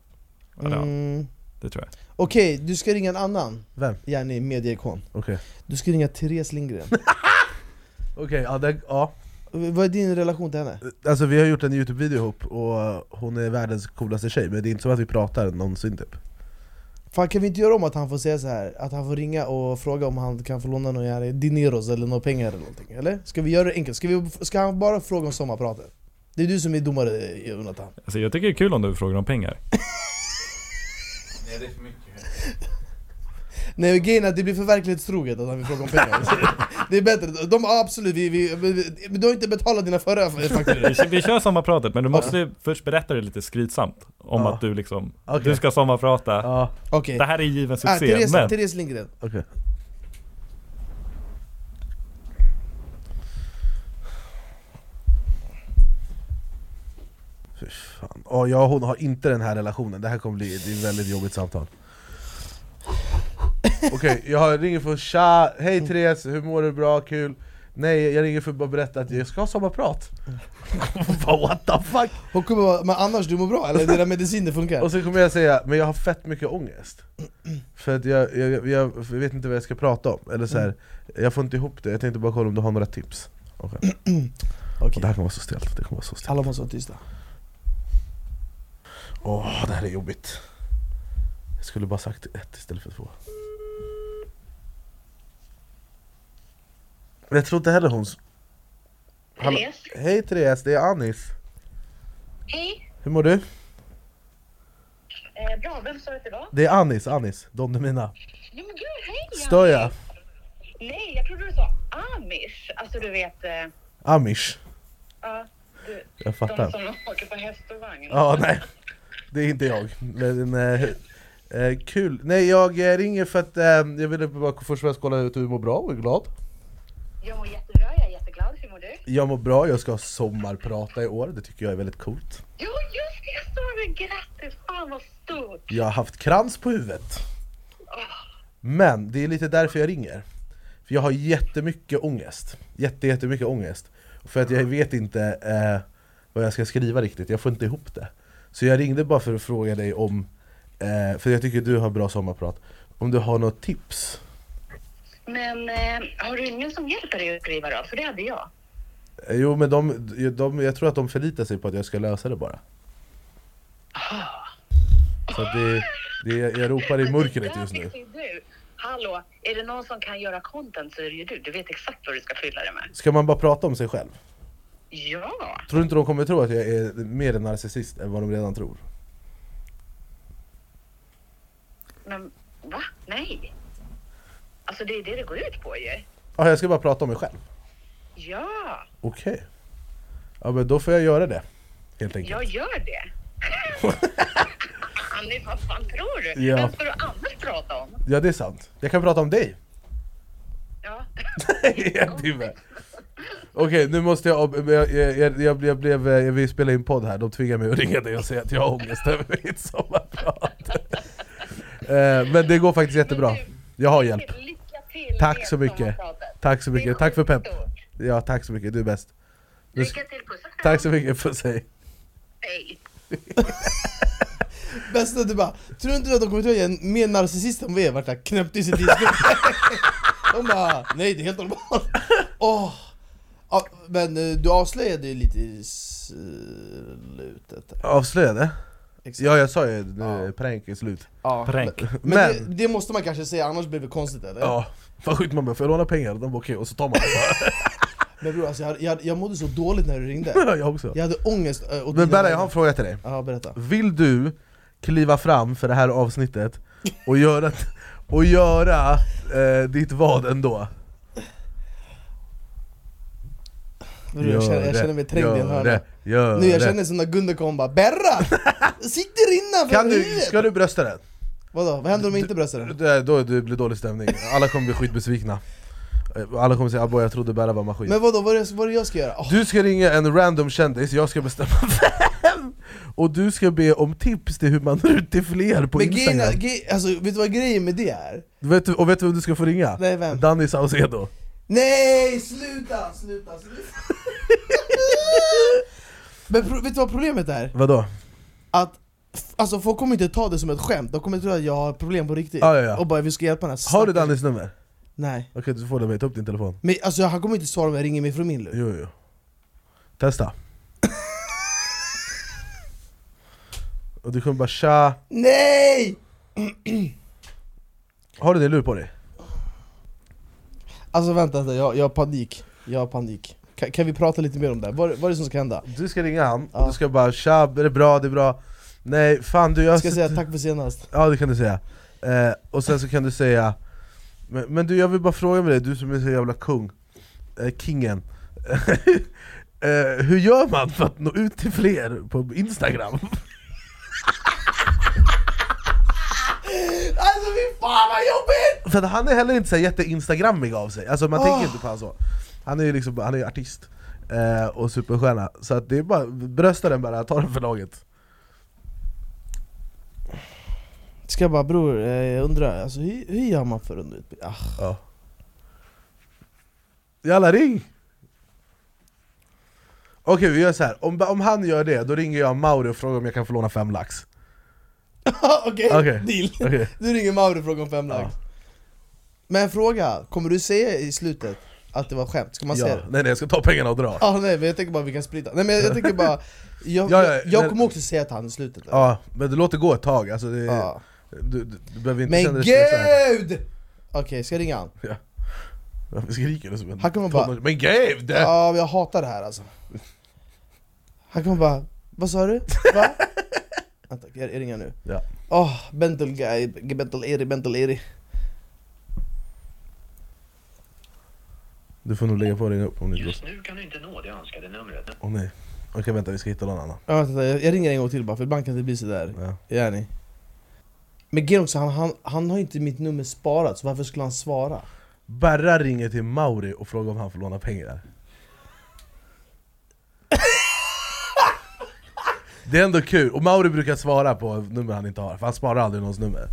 S1: det har han.
S2: Mm.
S1: Det tror jag.
S2: Okej, du ska ringa en annan.
S4: Vem?
S2: Gärna medieikon.
S4: Okej.
S2: Du ska ringa
S4: [LAUGHS]
S2: Therese Lindgren.
S4: Okej, ja, det, ja.
S2: V- Vad är din relation till henne?
S4: Alltså vi har gjort en Youtube-video ihop och eh, hon är världens coolaste tjej men det är inte som att vi pratar någonsin typ.
S2: Fan kan vi inte göra om att han får säga så här att han får ringa och fråga om han kan få låna några jävla dineros eller några pengar eller någonting? Eller? Ska vi göra det enkelt? Ska, vi, ska han bara fråga om sommarpratet? Det är du som är domare Jonathan.
S1: Alltså, jag tycker det är kul om du frågar om pengar.
S2: Nej grejen är att det blir för verklighetstroget att han vill fråga om pengar Det är bättre, de ja, absolut, vi, vi, vi, men du har inte betalat dina förra fakturor
S1: Vi, vi kör sommarpratet, men du måste ju först berätta det lite skrytsamt. Om
S4: Ja.
S1: att du liksom,
S4: Okej.
S1: du ska sommarprata.
S4: Ja,
S2: Okej,
S1: Det här är given
S2: ah,
S1: succé,
S2: Therese,
S1: men...
S2: Therese Lindgren
S4: okej. Fy fan. Oh, jag och hon har inte den här relationen, det här kommer bli det är ett väldigt jobbigt samtal. Okej, jag ringer för att tja, hej Therese, hur mår du? Bra, kul? Nej, jag ringer för att bara berätta att jag ska ha sommarprat. [LAUGHS] Bara, What the fuck?
S2: Hon kommer vara, men annars du mår bra eller? Dina mediciner
S4: [LAUGHS]
S2: funkar?
S4: Och så kommer jag säga, men jag har fett mycket ångest För att jag, jag, jag, jag vet inte vad jag ska prata om, eller så här, jag får inte ihop det, jag tänkte bara kolla om du har några tips Okej. Och
S2: Okej,
S4: Det här kommer vara så stelt, det kommer vara så stelt
S2: alla måste vara tysta
S4: Åh, det här är jobbigt Jag skulle bara sagt ett istället för två Men jag tror inte heller hon... Hallå.
S8: Therese.
S4: Hej Therese, det är Anis
S8: Hej.
S4: Hur mår du?
S8: Eh, bra, vem sa du att det var?
S4: Det är Anis, Anis, Don Demina
S8: Jo men gud, hej! Ann.
S4: Stör jag?
S8: Nej, jag trodde du sa amish. Alltså du vet, eh,
S4: Amish,
S8: ja, du,
S4: jag
S8: de
S4: fattar
S8: som åker på häst och vagn.
S4: Ja, nej. Det är inte jag. Men, eh, eh, kul. Nej, jag eh, ringer för att eh, jag ville bara först och främst kolla ut hur du mår bra och är glad.
S8: Jag mår jättebra, jag är jätteglad. Hur mår du?
S4: Jag mår bra, jag ska ha sommarprata i år. Det tycker jag är väldigt coolt.
S8: Jo, just det, jag såg det. Grattis! Fan vad stort!
S4: Jag har haft krans på huvudet. Men det är lite därför jag ringer. För jag har jättemycket ångest. Jätte, jättemycket ångest. För att jag vet inte eh, vad jag ska skriva riktigt, jag får inte ihop det. Så jag ringde bara för att fråga dig om, eh, för jag tycker du har bra sommarprat, om du har något tips?
S8: Men eh, har du ingen som hjälper dig att skriva då? För det hade jag.
S4: Eh, Jo men de, de, jag tror att de förlitar sig på att jag ska lösa det bara Så att det, det, jag ropar i mörkret
S8: Där
S4: just nu
S8: fick ju Du. Hallå, är det någon som kan göra content så är det ju du. Du vet exakt vad du ska fylla det med.
S4: Ska man bara prata om sig själv?
S8: Ja!
S4: Tror du inte de kommer tro att jag är mer en narcissist än vad de redan tror?
S8: Men va? Nej! Alltså det är det det går ut på ju.
S4: Ja, jag ska bara prata om mig själv?
S8: Ja,
S4: Okej Ja men då får jag göra det Helt enkelt
S8: jag gör
S4: [LAUGHS]
S8: det. Annie, vad fan tror du?
S4: Ja.
S8: Vem ska du annars prata om?
S4: Ja det är sant, jag kan prata om dig
S8: Ja.
S4: [LAUGHS] i en timme Okej, nu måste jag, jag, jag, jag, jag, blev- jag, blev, eh, jag vill spela in podd här, de tvingar mig att ringa dig och säga att jag har ångest över mitt sommarprat [LAUGHS] Eh, Men det går faktiskt jättebra, jag har hjälp
S8: Lycka till
S4: Tack
S8: med
S4: så mycket,
S8: sommarpratet.
S4: tack så
S8: Det är
S4: mycket, tack för pepp
S8: skitstort.
S4: Ja tack så mycket, du är bäst Nu ska-
S8: Lycka till, puss och kram.
S4: Tack så mycket, för sig
S8: Hej.
S2: Bästa du bara, tror inte du att de kommer tro att jag är mer narcissist än vad jag är? Vart jag knäppt i sitt diskbänk [LAUGHS] De bara, nej det är helt normalt. [LAUGHS] Åh. Ja, men eh, du avslöjade ju lite i slutet. där.
S4: Avslöjade?
S2: Exakt.
S4: Ja jag sa ju nu, prank är slut
S2: Ja,
S1: Pränk.
S2: Men,
S4: Men-
S2: men det, det måste man kanske säga, annars blir det konstigt eller?
S4: Ja, vad sjukt man bara, får jag låna pengar? De bara okej, och så tar man
S2: [LAUGHS]
S4: det
S2: Men bror alltså, jag, jag, jag mådde så dåligt när du ringde.
S4: bara. Jag också
S2: Jag hade ångest. eh, åt
S4: Men
S2: dina
S4: Berra, jag har
S2: vägnar.
S4: en fråga till dig
S2: Ja, berätta.
S4: Vill du kliva fram för det här avsnittet och
S2: [LAUGHS]
S4: göra, och göra eh, ditt vad ändå?
S2: Bror, jag, känner, jag
S4: det,
S2: känner mig trängd i
S4: gör
S2: en hörna.
S4: det, gör
S2: Nu jag
S4: det.
S2: känner som när Gunde kom bara 'Berra! Sitter innanför
S4: Kan du,
S2: huvudet!'
S4: ska du brösta den?
S2: Vadå, vad händer om jag inte bröstar den?
S4: Det, då det blir dålig stämning, alla kommer bli skitbesvikna Alla kommer säga aboy jag trodde Berra var maskin
S2: Men vadå, vad är det, vad är det jag ska göra? Åh,
S4: Typ. Du ska ringa en random kändis, jag ska bestämma [LAUGHS] vem! Och du ska be om tips till hur man når ut till fler på
S2: men grejen,
S4: Instagram
S2: är- grej, alltså, vet du vad grejen med det är?
S4: vet du, Och vet du vem du ska få ringa?
S2: Nej, vem?
S4: Danny Saucedo
S2: Nej, sluta, sluta, sluta! [LAUGHS] men pro, vet du vad problemet är?
S4: Vadå?
S2: Att f- alltså, folk kommer inte ta det som ett skämt, de kommer tro att jag har problem på riktigt
S4: Ja, ja, ja.
S2: och bara vi ska hjälpa den här
S4: Har du
S2: stackaren."
S4: Dannys nummer?
S2: Nej,
S4: Okej du får det av mig, ta upp din telefon
S2: men alltså, han kommer inte svara om jag ringer mig från min lur
S4: Jo jo
S2: [LAUGHS]
S4: Testa Och du kommer bara tja,
S2: Nej!
S4: har du din lur på dig?
S2: Alltså vänta, vänta jag, jag har panik, jag har panik kan, kan vi prata lite mer om det här? Vad, vad är det som ska hända?
S4: Du ska ringa han, och
S2: Ja.
S4: du ska bara tja, är det bra, det är bra Nej fan du jag har
S2: Ska jag
S4: sett-
S2: säga tack för senast?
S4: Ja det kan du säga, eh, och sen så kan du säga men, men du jag vill bara fråga med dig, du som är så jävla kung, eh, kingen [LAUGHS] eh, Hur gör man för att nå ut till fler på instagram?
S2: [LAUGHS] Alltså fy fan vad jobbigt!
S4: för att han är heller inte så här jätte-instagrammig av sig, alltså man
S2: Ah.
S4: tänker inte på han så Han är ju liksom, han är ju artist eh, och superstjärna, så att det är bara, brösta den bara, ta den för laget
S2: Ska jag bara bror, eh, jag undrar, alltså, hur, hur gör man för att undvika utbildning? Ah.
S4: ja. Jalla ring! Okej vi gör så här. Om, om han gör det, då ringer jag Mauri och frågar om jag kan få låna fem lax
S2: Okej,
S4: Okej.
S2: deal!
S4: Okej.
S2: Du ringer Mauri och frågar om fem lax Men fråga, kommer du säga i slutet att det var skämt? Ska man
S4: Ja.
S2: säga det?
S4: Nej nej, jag ska ta pengarna och dra
S2: Ah, nej men jag tänker bara vi kan sprida, nej men
S4: [LAUGHS]
S2: jag tänker bara Jag,
S4: Ja, ja,
S2: jag, jag
S4: men-
S2: kommer också säga till han i slutet
S4: Ja, men du låter gå ett tag, alltså det,
S2: Ja.
S4: du, du, du behöver inte känna
S2: Men
S4: dig stressad
S2: gud! Okej, ska jag ringa han?
S4: ja. Varför skriker du som en
S2: Han kommer bara-
S4: tonåring? Men gud!
S2: Ja, men jag hatar det här alltså Han kommer bara, vad sa du?
S4: [LAUGHS]
S2: Va? Vänta, jag, jag ringer nu
S4: Ja.
S2: Åh, Bentel guy, Bentel eri, Bentel eri
S4: Du får nog lägga på och ringa upp om det inte går
S9: Just nu kan du inte nå det önskade numret.
S4: Åh nej, okej vänta vi ska hitta någon annan
S2: ja, vänta, vänta, jag, jag ringer en gång till bara, för ibland kan det bli sådär
S4: ja.
S2: ja. ni. Men grejen är också, han, han, han har ju inte mitt nummer sparat, så varför skulle han svara?
S4: Berra ringer till Mauri och frågar om han får låna pengar Det är ändå kul, och Mauri brukar svara på nummer han inte har, för han sparar aldrig någons nummer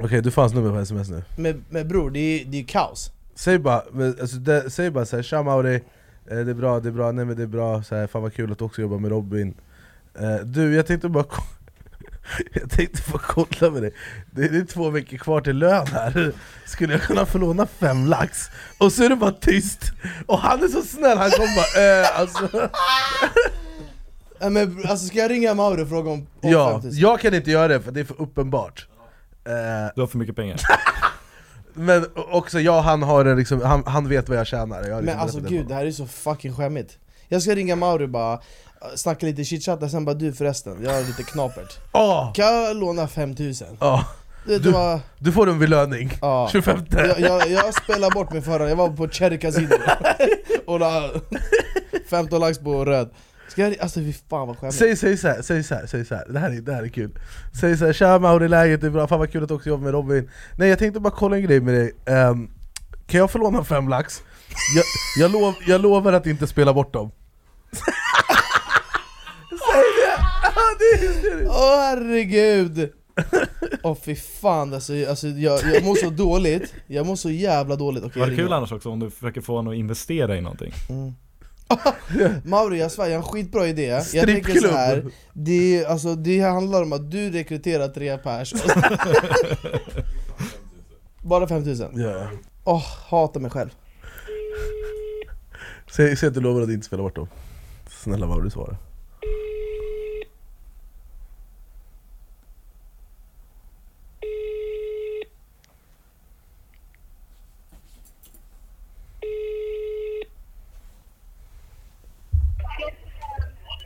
S4: Okej, du får hans nummer på sms nu
S2: Men, men bror, det är ju det är ju kaos
S4: Säg bara, men, alltså, det, säg bara såhär, tja Mauri, eh, det är bra, det är bra, nej men det är bra, så här, fan vad kul att du också jobbar med Robin eh, Du, jag tänkte bara ko- [LAUGHS] jag tänkte få kolla med dig, det, det är två veckor kvar till lön här Skulle jag kunna få låna fem lax? Och så är det bara tyst! Och han är så snäll, han kommer bara eh,
S2: [LAUGHS]
S4: alltså,
S2: Ja, Men br- alltså ska jag ringa Mauro och fråga om, om
S4: Ja,
S2: 50?
S4: jag kan inte göra det för det är för uppenbart eh,
S1: Du har för mycket pengar.
S4: Men också jag, han har en liksom, han, han vet vad jag tjänar jag har
S2: Men
S4: liksom
S2: alltså
S4: berättat det för
S2: gud, det här är så fucking skämmigt Jag ska ringa Mauri och bara, äh, snacka lite chitchat, och sen bara du förresten, jag har lite knapert
S4: honom.
S2: Kan jag låna 5000?
S4: Ah, ah.
S2: Du, vet, det
S4: Du-
S2: var,
S4: Du får en belöning, [LAUGHS]
S2: Ja.
S4: 25
S2: jag, jag, jag spelade bort mig förra, jag var på Cherry Casino och la 15 lax på röd Ska jag, alltså fy fan vad skämmigt
S4: Säg, säg såhär, säg såhär, säg såhär, det här är, det här är kul Säg såhär, tja Mauri, läget är bra, fan vad kul att du också jobbar med Robin Nej jag tänkte bara kolla en grej med dig, Ehm, kan jag få låna fem lax? Jag, jag, lov, jag lovar att inte spela bort dem Säg det! Ja, det är hysteriskt.
S2: Åh herregud! Åh fy fan alltså, alltså jag, jag mår så dåligt, jag mår så jävla dåligt Okej, jag
S1: Vad kul
S2: ringer.
S1: annars också om du försöker få honom att investera i någonting.
S2: Mauri, jag svär, jag har en skitbra idé. Jag
S4: Strippklubb.
S2: tänker så här. Det,
S4: [LAUGHS]
S2: är- alltså, det handlar om att du rekryterar tre pers. Bara 5000?
S4: Ja.
S2: Åh, hatar mig själv.
S4: Säg, säg att du lovar att inte spela bort dem. Snälla Mauri svara.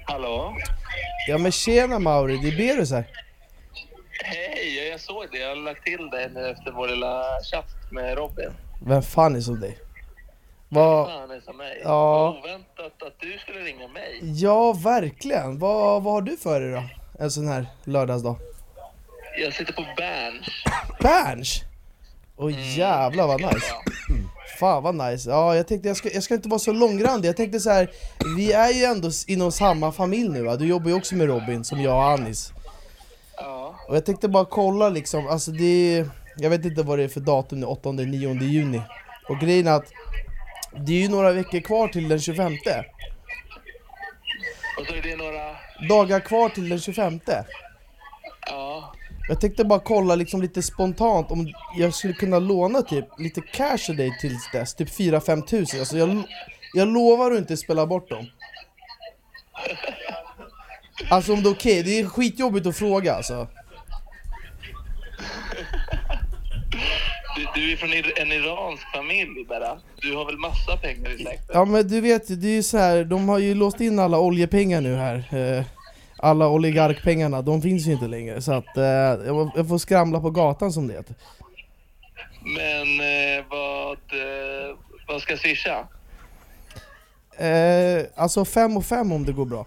S3: Hallå?
S2: Ja men tjena Mauri, det är Berus här.
S3: Hej, ja, jag såg det. Jag har lagt till dig nu efter vår lilla tjafs med Robin.
S2: Vem fan är som dig? Vad...
S3: Fan är som mig.
S2: Ja.
S3: Oväntat att du skulle ringa mig.
S2: Ja, verkligen. Vad, vad har du för dig då? En sån här lördagsdag?
S3: Jag sitter på Berns.
S2: Berns! Åh jävlar vad nice. Fan vad nice. Ja, jag tänkte jag ska, jag ska inte vara så långrandig. Jag tänkte så här, vi är ju ändå s- inom samma familj nu va? Du jobbar ju också med Robin som jag och Anis.
S3: Ja.
S2: Och jag tänkte bara kolla liksom, alltså det är, Jag vet inte vad det är för datum nu, 8-9 juni. Och grejen är att det är ju några veckor kvar till den 25.
S3: Och så är det några...
S2: Dagar kvar till den 25.
S3: Ja.
S2: Jag tänkte bara kolla liksom lite spontant om jag skulle kunna låna typ lite cash av dig tills dess, typ 4-5 tusen. Alltså jag, lo- jag lovar att inte spela bort dem. Alltså om det är okej, det är skitjobbigt att fråga alltså.
S3: Du, du är från ir- en iransk familj, Berra. Du har väl massa pengar i släkten?
S2: Ja men du vet, det är ju så här, de har ju låst in alla oljepengar nu här. Eh, Alla oligarkpengarna, de finns ju inte längre. Så att eh, jag- jag får skramla på gatan som det heter.
S3: Men eh, vad... Eh, vad ska jag swisha?
S2: Eh, alltså 5 och 5 om det går bra.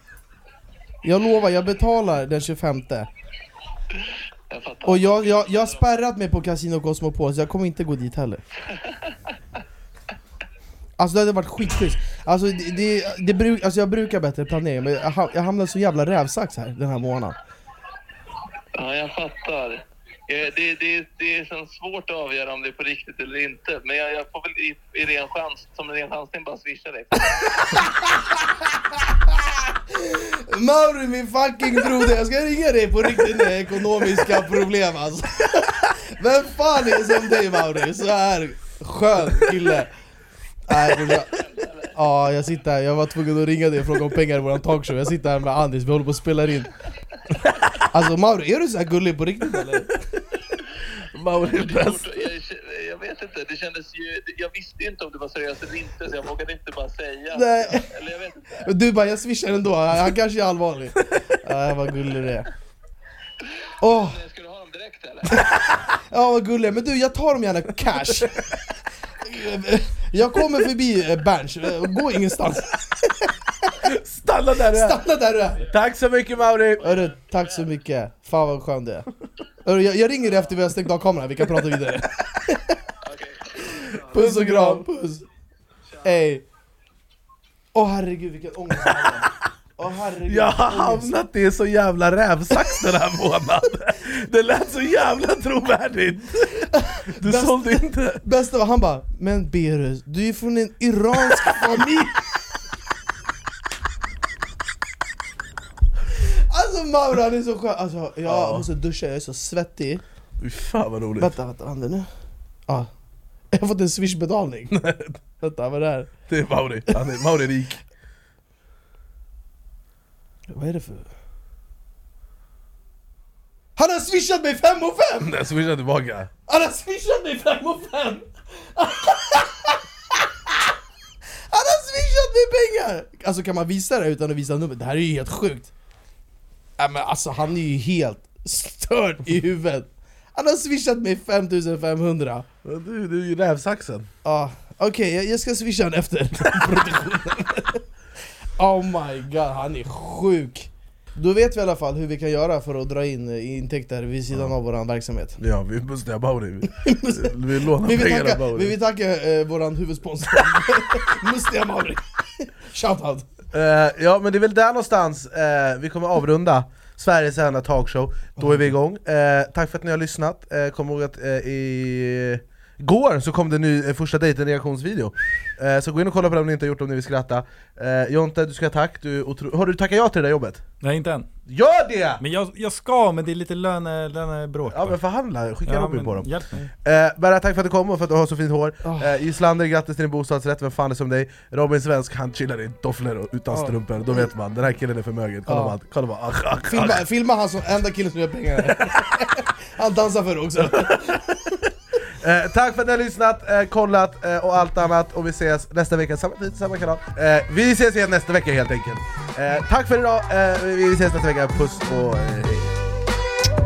S2: Jag lovar, jag betalar den 25.
S3: Jag fattar.
S2: Och jag, jag, jag har spärrat mig på Casino Cosmopol så jag kommer inte gå dit heller Alltså det hade varit skitschysst, alltså, det, det, det bruk, alltså jag brukar bättre planering men jag, ha- jag hamnade så jävla rävsax här den här månaden
S3: Ja, jag fattar. Eh, Det, det, det är så svårt att avgöra om det är på riktigt eller inte. Men jag, jag får väl i, i ren chans, som en ren chansning bara swisha dig.
S2: Mauri min fucking broder, jag ska ringa dig på riktigt när jag har ekonomiska problem alltså Vem fan är som dig Mauri? Så här skön kille Nej, men jag- Ja, jag sitter här, jag var tvungen att ringa dig och fråga om pengar i våran talkshow Jag sitter här med Andis, vi håller på att spela in Alltså Mauri, är du så här gullig på riktigt eller?
S4: Mauri är
S3: Jag,
S4: bäst.
S3: jag vet inte, det kändes ju... Jag visste ju inte om du var seriös eller inte, så jag vågade inte bara säga.
S2: Nej.
S3: Eller jag vet inte.
S2: Du bara, jag swishar ändå, han kanske är allvarlig Ja, vad gullig du är Åh,
S3: Men Ska du ha dem direkt eller?
S2: ja vad gullig jag är. Men du, jag tar dem gärna cash Jag kommer förbi eh, Berns, Eh, gå ingenstans
S4: Stanna där du är!
S2: Stanna där du är!
S4: Tack så mycket Mauri!
S2: Hörru, tack så mycket, fan vad skön du är Hörru, jag, jag ringer dig efter vi har stängt av kameran, vi kan prata vidare Puss och kram, puss! Ey! Åh herregud vilken ångest jag hade. Åh herregud
S4: Jag har
S2: vilken ångest.
S4: hamnat i så jävla rävsax den här månaden! Det lät så jävla trovärdigt! Du
S2: Bäst-
S4: sålde inte...
S2: Bästa var han bara 'Men Berus, du är ju från en iransk familj' Alltså Mauro han är så skön, alltså, jag
S4: Ja.
S2: måste duscha, jag är så svettig
S4: Fy fan vad roligt!
S2: Vänta, vänta, vad händer nu? Ja. Jag har fått en swishbetalning Vänta, vad är det här?
S4: Det är Mauri, han är, Mauri är rik!
S2: Vad är det för... Han har swishat mig 5 och 5!
S4: Den swishar tillbaka!
S2: Han har swishat mig 5 och 5! [LAUGHS] Han har swishat mig pengar! Alltså kan man visa det utan att visa numret? Det här är ju helt sjukt! Nej men alltså han är ju helt störd i huvudet! Han har swishat mig 5500!
S4: Men Du, du är ju rävsaxen!
S2: Ja, Okej, jag, jag ska swisha honom efter produktionen [LAUGHS] Oh my god, han är sjuk! Då vet vi i alla fall hur vi kan göra för att dra in eh, intäkter vid sidan av vår verksamhet
S4: Ja, vi måste ha Mauri! Vi, [LAUGHS] vi lånar
S2: Vi vill
S4: pengar
S2: tacka,
S4: av Mauri!
S2: vi vill tacka eh, våran huvudsponsor [LAUGHS] Mustiga Mauri Shoutout
S4: Eh, ja men det är väl där någonstans eh, vi kommer avrunda Sveriges enda talkshow, då är vi igång. Eh, tack för att ni har lyssnat, Eh, kom ihåg att eh, i Går så kom det en ny eh, första dejten reaktionsvideo eh, Så gå in och kolla på den om ni inte har gjort det, om ni vill skratta eh, Jonte, du ska ha tack, du är otro... Har du tackat ja till det där jobbet?
S1: Nej inte än.
S4: Gör det!
S1: Men jag, jag ska, men det är lite löne, lönebråk.
S4: Ja
S1: bara.
S4: men förhandla, skicka Robin
S1: men
S4: på dem
S1: Hjälp mig.
S4: eh, Berra, tack för att du kom och för att du har så fint hår eh, Islander, grattis till din bostadsrätt, vem fan är som dig? Robin Svensk, han chillar i tofflor och utan strumpor, då vet man, den här killen är förmögen Kolla
S2: Ja.
S4: på allt, kolla på allt
S2: Filma, filma han som enda killen som gör pengar. [LAUGHS] Han dansar för det också.
S4: Eh, tack för att ni har lyssnat, eh, kollat eh, och allt annat och vi ses nästa vecka, samma tid, samma kanal. Eh, vi ses igen nästa vecka helt enkelt. Eh, tack för idag, eh, vi vi ses nästa vecka, puss och eh, hej.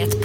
S5: Ett